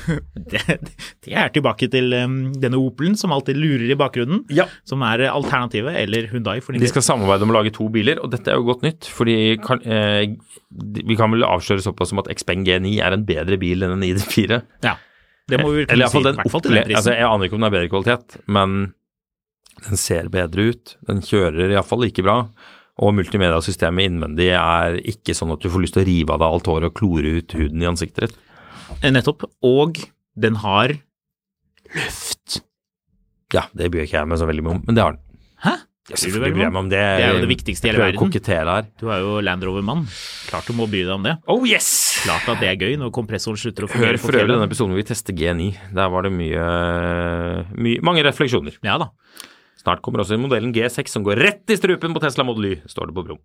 B: [LAUGHS] Det, det er tilbake til em, denne Opelen som alltid lurer i bakgrunnen.
A: Ja.
B: Som er eh, alternativet, eller Hundai. For
A: De skal samarbeide om å lage to biler, og dette er jo godt nytt. fordi kan, eh, de- Vi kan vel avsløre såpass som at Xpeng G9 er en bedre bil enn en ID4.
B: Ja. Det må vi vel
A: Eller
B: kunne
A: iallfall
B: si.
A: den
B: I hvert fall til den
A: opple-
B: prisen.
A: altså, Jeg aner ikke om den er bedre kvalitet, men den ser bedre ut. Den kjører iallfall like bra. Og multimediasystemet innvendig er ikke sånn at du får lyst til å rive av deg alt håret og klore ut huden i ansiktet ditt.
B: Nettopp. Og den har luft.
A: Ja, det bryr ikke jeg meg så veldig mye om, men det har den.
B: Hæ?
A: Ja,
B: Bryr du
A: selvfølgelig
B: deg
A: bryr jeg meg om det.
B: Det er jo det viktigste i hele
A: Jeg prøver å
B: verden.
A: kokettere her.
B: Du er jo Land Rover-mann. Klart du må bry deg om det.
A: Oh yes!
B: Klart at det er gøy når kompressoren slutter å
A: Hør
B: fungere. på
A: for øvrig
B: fredag.
A: denne episoden hvor vi tester G9. Der var det mye, mye mange refleksjoner.
B: Ja da.
A: Snart kommer også modellen G6 som går rett i strupen på Tesla Model Y, står det på brom.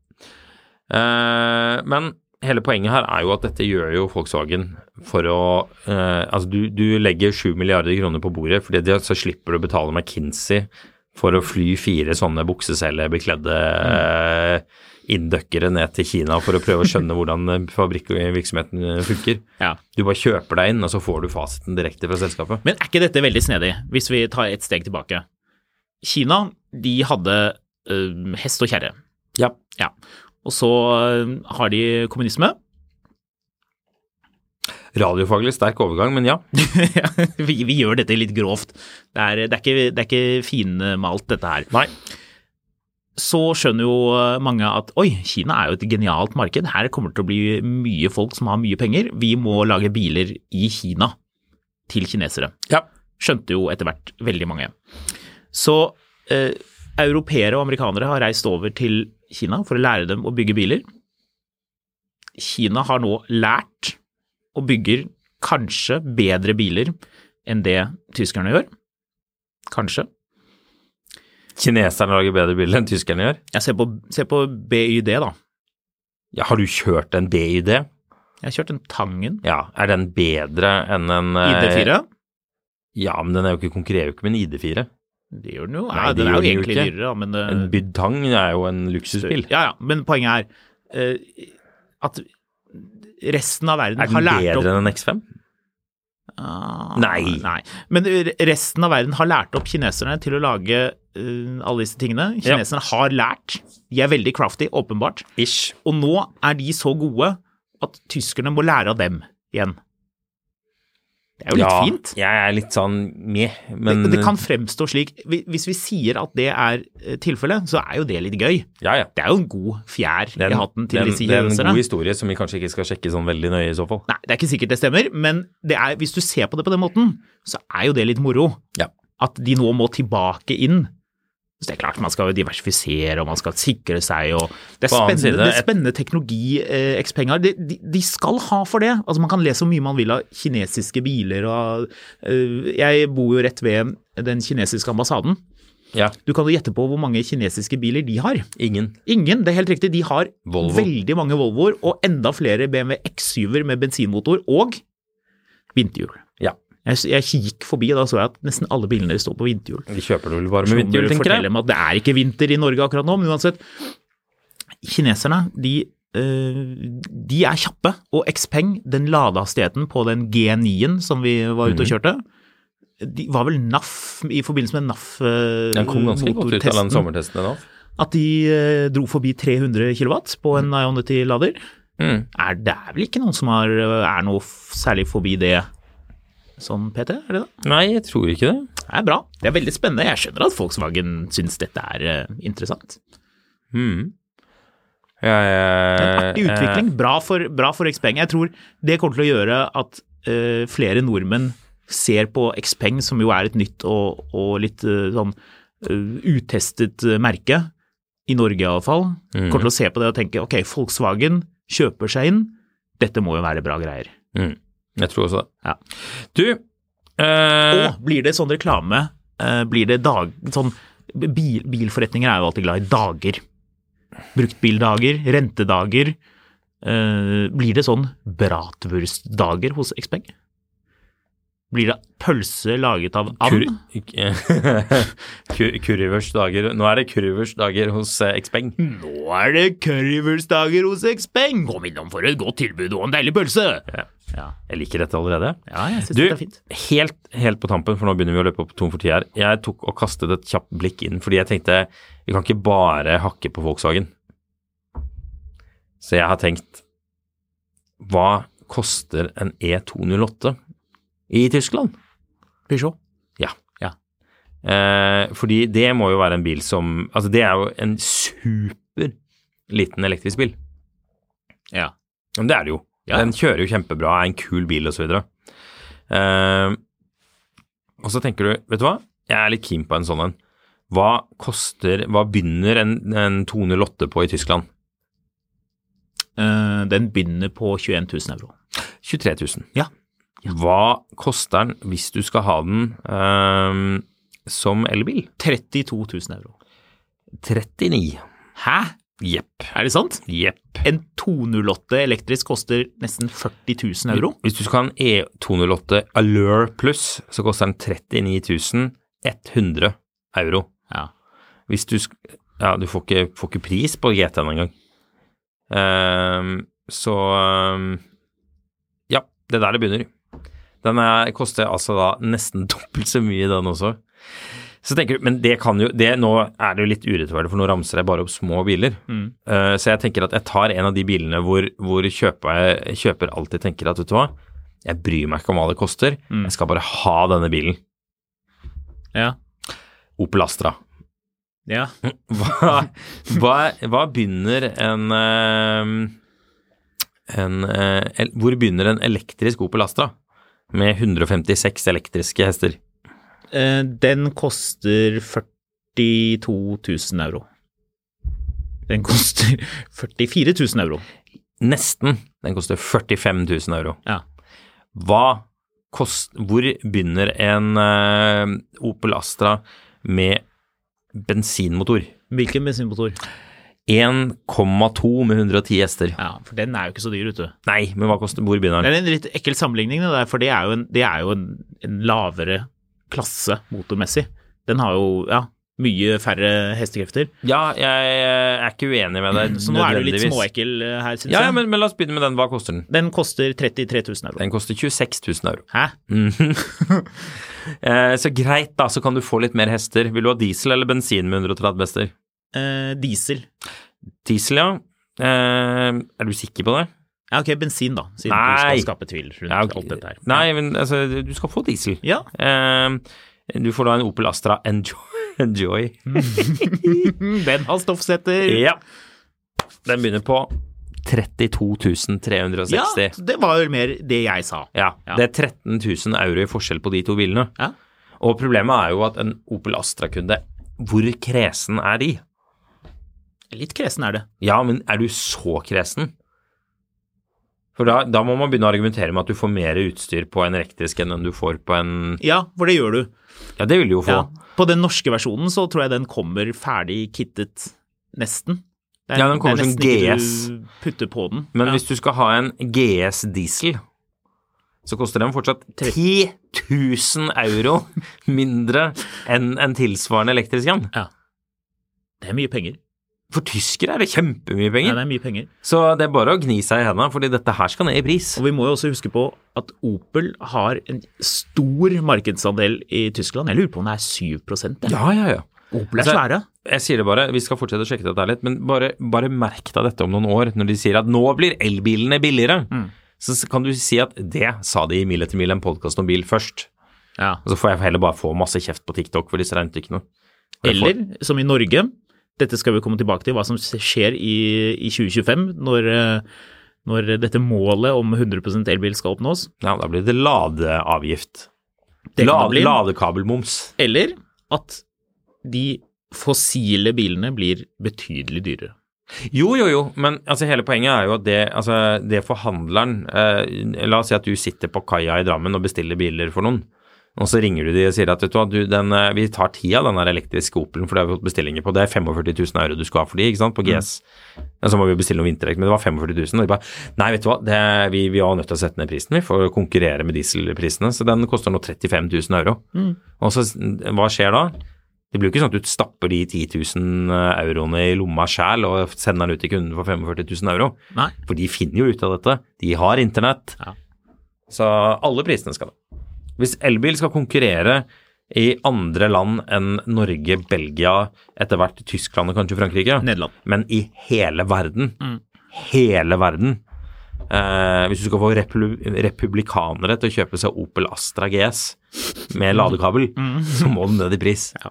A: Eh, men hele poenget her er jo at dette gjør jo Volkswagen for å eh, Altså, du, du legger 7 milliarder kroner på bordet, fordi det, så slipper du å betale McKinsey for å fly fire sånne buksesellebekledde eh, inndøkkere ned til Kina for å prøve å skjønne hvordan eh, fabrikkvirksomheten eh, funker.
B: Ja.
A: Du bare kjøper deg inn, og så får du fasiten direkte fra selskapet.
B: Men er ikke dette veldig snedig, hvis vi tar et steg tilbake? Kina, de hadde eh, hest og kjerre.
A: Ja.
B: Ja. Og så eh, har de kommunisme. [LAUGHS]
A: Radiofaglig sterk overgang, men ja.
B: vi, vi gjør dette litt grovt. Det er, det er, ikke, det er ikke finmalt, dette her.
A: Nei.
B: Så skjønner jo eh, mange at oi, Kina er jo et genialt marked. Her kommer det til å bli mye folk som har mye penger. Vi må lage biler i Kina til kinesere.
A: Ja.
B: skjønte jo etter hvert veldig mange. Så eh, europeere og amerikanere har reist over til Kina for å lære dem å bygge biler. Kina har nå lært og bygger kanskje bedre biler enn det tyskerne gjør. Kanskje.
A: Kineserne lager bedre biler enn tyskerne gjør.
B: Jeg ser på, ser på BYD, da.
A: Ja, har du kjørt en BYD?
B: Jeg har kjørt en Tangen
A: Ja. Er den bedre enn en eh,
B: ID4.
A: Ja, men den er jo ikke, konkurrerer jo ikke med en ID4.
B: Det gjør den jo.
A: Nei,
B: ja,
A: det
B: den
A: gjør
B: er jo
A: den jo
B: egentlig
A: ikke.
B: dyrere, da, men eh,
A: En Bydtang er jo en luksusbil.
B: Ja, ja, men poenget er eh, at resten av verden
A: Er
B: har
A: den
B: lært opp
A: bedre enn en X5?
B: Ah,
A: Nei.
B: Men resten av verden har lært opp kineserne til å lage eh, alle disse tingene.
A: Ja.
B: Kineserne har lært. De er veldig crafty, åpenbart.
A: Ish.
B: Og nå er de så gode at tyskerne må lære av dem igjen. Det er jo litt
A: ja,
B: fint.
A: Jeg er litt sånn meh, men
B: det, det kan fremstå slik Hvi- Hvis vi sier at det er eh, tilfellet, så er jo det litt gøy.
A: Ja, ja.
B: Det er jo en god fjær
A: Det er
B: i
A: en-
B: hatten til
A: det er en-
B: disse
A: Det er en
B: kineserne.
A: god historie som vi kanskje ikke skal sjekke sånn veldig nøye i så fall.
B: Nei, det er ikke sikkert det stemmer, men det er, hvis du ser på det på den måten, så er jo det litt moro.
A: Ja.
B: At de nå må tilbake inn. Så det er klart, man skal jo diversifisere, og man skal sikre seg, og Det er
A: På annen
B: spennende,
A: side,
B: det er
A: et-
B: spennende teknologi eh, Xpeng har. De, de, de skal ha for det. Altså, man kan le så mye man vil av kinesiske biler og av, eh, Jeg bor jo rett ved den kinesiske ambassaden.
A: Ja.
B: Du kan jo gjette på hvor mange kinesiske biler de har.
A: Ingen.
B: Ingen, det er helt riktig. De har
A: Volvo.
B: veldig mange Volvoer og enda flere BMW X7-er med bensinmotor og vinterhjul.
A: Ja.
B: Jeg, s- jeg gikk forbi, da så jeg at nesten alle bilene deres står på vinterhjul.
A: De kjøper det vel bare med vinterhjul,
B: Som
A: tenker
B: forteller
A: jeg.
B: meg at det er ikke vinter i Norge akkurat nå, men uansett. Kineserne, de, eh, de er kjappe, og Xpeng, den ladehastigheten på den G9-en som vi var
A: Mhm.
B: ute og kjørte, de var vel NAF, i forbindelse med NAF eh,
A: Den kom ganske godt ut av den
B: motortesten
A: sommertesten ennå.
B: at de eh, dro forbi 300 kW på en Ionity-lader.
A: Mm.
B: Er det er vel ikke noen som har, eh, er noe f- særlig forbi det sånn, PT? Er det det?
A: Nei, jeg tror ikke det.
B: Det er bra. Det er veldig spennende. Jeg skjønner at Volkswagen syns dette er eh, interessant.
A: Eh,
B: Artig utvikling. Bra for, bra for Xpeng. Jeg tror det kommer til å gjøre at eh, flere nordmenn ser på Xpeng, som jo er et nytt og, og litt eh, sånn eh, utestet eh, merke, i Norge iallfall,
A: Mm.
B: kommer til å se på det og tenke ok, Volkswagen kjøper seg inn, dette må jo være bra greier.
A: Mm. Jeg tror også det.
B: Ja.
A: Du eh,
B: Og blir det sånn reklame, eh, blir det dag... Sånn, bil, bilforretninger er jo alltid glad i dager. Bruktbildager, rentedager. Eh, blir det sånn bratwurstdager hos Xpeng? Blir det pølse laget av
A: kur, [LAUGHS]
B: and?
A: kur, Kurivers dager Nå er det Kurivers dager hos eh, Xpeng.
B: Nå er det currywurstdager hos Xpeng! Kom innom for et godt tilbud og en deilig pølse! Ja, ja.
A: Jeg liker dette allerede.
B: jeg syns
A: Du,
B: det er fint.
A: helt, helt på tampen, for nå begynner vi å løpe opp tom for tid her. Jeg tok og kastet et kjapt blikk inn, fordi jeg tenkte vi kan ikke bare hakke på Volkswagen. Så jeg har tenkt hva koster en E E208 i Tyskland?
B: Peugeot.
A: Ja.
B: Ja.
A: Eh, fordi det må jo være en bil som Altså, det er jo en super liten elektrisk bil.
B: Ja.
A: Men det er det jo.
B: Ja.
A: Den kjører jo kjempebra, er en kul bil osv. Uh, og så tenker du, vet du hva, jeg er litt keen på en sånn en. Hva koster Hva begynner en, en 208 på i Tyskland?
B: Eh, den begynner på 21 000 euro.
A: 23 000.
B: Ja.
A: Hva koster den hvis du skal ha den eh, som elbil?
B: 32 000 euro.
A: 39.
B: Hæ?
A: Jepp.
B: Er det sant?
A: Jepp.
B: En 208 elektrisk koster nesten 40 000 euro.
A: Hvis du skal ha E en E208 Allure Plus, så koster den 39 100 euro.
B: Ja.
A: Hvis du sk Ja, du får ikke, får ikke pris på GT-en engang. Ehm, så ehm, Ja, det er der det begynner. Den er, koster altså da nesten [LAUGHS] dobbelt så mye, den også. Så tenker du, Men det kan jo det, Nå er det jo litt urettferdig, for nå ramser jeg bare opp små biler. Eh, så jeg tenker at jeg tar en av de bilene hvor, hvor kjøper, kjøper alltid tenker at vet du hva, jeg bryr meg ikke om hva det koster, jeg skal bare ha denne bilen.
B: Ja.
A: Opel Astra.
B: ja.
A: Hva, hva, hva begynner en, eh, en eh, el, Hvor begynner en elektrisk Opel Astra? Med 156 elektriske hester.
B: Eh, Den koster 42 000 euro. Den koster 44 000 euro.
A: Nesten. Den koster 45 000 euro.
B: Ja.
A: Hva kost, Hvor begynner en eh, Opel Astra med bensinmotor?
B: Hvilken bensinmotor?
A: 1,2 med 110 hester.
B: Ja, for den er jo ikke så dyr, vet du.
A: Nei, men hva koster, hvor begynner
B: Det
A: den?
B: er en litt ekkel sammenligning, det der, for det er jo en, det er jo en, en lavere klasse motormessig. Den har jo ja, mye færre hestekrefter.
A: Ja, jeg er ikke uenig med deg.
B: Så nå er du litt
A: nødvendigvis.
B: småekkel eh, her, syns
A: Ja, ja
B: jeg.
A: men, men la oss begynne med den. Hva koster den?
B: Den koster 33 000 euro.
A: Den koster 26 000 euro. Mhm.
B: Hæ?
A: [LAUGHS] Eh, så greit, da, så kan du få litt mer hester. Vil du ha diesel eller bensin med 130 hester?
B: Eh, diesel.
A: Diesel, ja. Eh, er du sikker på det?
B: Ja, ok, bensin, da, siden
A: Nei.
B: du skal skape tvil rundt
A: Ja, ok.
B: alt dette her.
A: Nei, men altså, du skal få diesel.
B: Ja.
A: Eh, du får da en Opel Astra Enjoy. [LAUGHS] Enjoy.
B: Mhm. Den har stoffsetter.
A: Ja. Den begynner på 32 360.
B: Ja, det var jo mer det jeg sa.
A: Ja,
B: Ja.
A: det er 13 000 euro i forskjell på de to bilene.
B: Ja.
A: Og problemet er jo at en Opel Astra-kunde, hvor kresen er de?
B: Litt kresen er det.
A: Ja, men er du så kresen? For da, da må man begynne å argumentere med at du får mer utstyr på en elektrisk enn den du får på en
B: Ja, for det gjør du.
A: Ja, det vil du jo få.
B: Ja. På den norske versjonen så tror jeg den kommer ferdig kittet, nesten. Det
A: Ja, den kommer
B: det er
A: som
B: nesten ikke
A: GS.
B: Du putter på den.
A: Men
B: ja.
A: hvis du skal ha en GS diesel, så koster den fortsatt 10 000 euro mindre enn en tilsvarende elektrisk en.
B: Det er mye penger.
A: For tyskere er det kjempemye penger.
B: Ja, det er mye penger.
A: Så det er bare å gni seg i hendene, fordi dette her skal ned i pris.
B: Og vi må jo også huske på at Opel har en stor markedsandel i Tyskland. Jeg lurer på om det er 7 det.
A: Ja, ja, ja.
B: Opel er
A: Altså,
B: svære.
A: Jeg sier det bare, vi skal fortsette å sjekke dette her litt, men bare, bare merk deg dette om noen år, når de sier at nå blir elbilene billigere. Så s- kan du si at det sa de i Mil etter mil, en podkast om bil først.
B: Ja.
A: Og så får jeg heller bare få masse kjeft på TikTok for disse regnestykkene. Og jeg får-
B: Eller som i Norge, Dette skal vi komme tilbake til, hva som skjer i, i 2025 når, eh, når dette målet om 100 elbil skal oppnås.
A: Ja, da blir det ladeavgift.
B: Det kan
A: La-
B: det bli.
A: Ladekabelmoms.
B: Eller at de fossile bilene blir betydelig dyrere.
A: Jo, jo, jo, men altså, hele poenget er jo at det, altså, det forhandleren eh, La oss si at du sitter på kaia i Drammen og bestiller biler for noen. Og så ringer du de og sier at vet du, hva, du, den, eh, vi tar ti av den der elektriske Opelen, for det har vi fått bestillinger på. Det er 45 000 euro du skal ha for de, ikke sant, på GS. Ja, så må vi bestille noe vinterdekk, men det var 45 000. Og de bare nei, vet du hva, det, vi, vi var nødt til å sette ned prisen, vi, for å konkurrere med dieselprisene. Så den koster nå 35 000 euro. Og så hva skjer da? Det blir jo ikke sånn at du stapper de 10 000 euroene i lomma sjæl og sender den ut til kunden for 45 000 euro.
B: Nei.
A: For de finner jo ut av dette. De har internett.
B: Ja.
A: Så alle prisene skal det. Hvis elbil skal konkurrere i andre land enn Norge, Belgia, etter hvert Tyskland og kanskje Frankrike,
B: Nederland. Mm.
A: men i hele verden, hele verden eh, Hvis du skal få replu- republikanere til å kjøpe seg Opel Astra GS med ladekabel, så må den ned i pris.
B: Mm.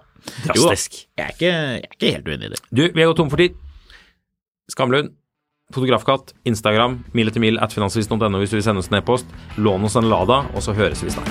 B: Jo,
A: Drastisk.
B: jeg er, ikke, jeg er ikke helt uenig i det.
A: Du, vi har gått tom for tid. Skamlund, Fotografkatt, Instagram, mil etter mil at finansavisen.no hvis du vil sende oss en e-post. Lån oss en Lada, og så høres vi snart.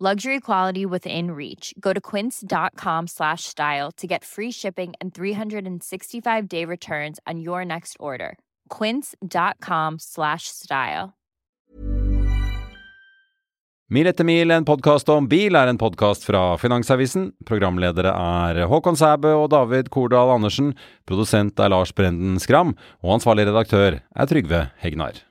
C: Luxury quality within reach. Go to quince.com slash style to get free shipping and 365 day returns on your next order. Quince.com slash style.
D: Mil etter mil, en podkast om bil, er en podkast fra Finansavisen. Programledere er Håkon Sæbø og David Kordal Andersen. Produsent er Lars Brenden Skram. Og ansvarlig redaktør er Trygve Hegnar.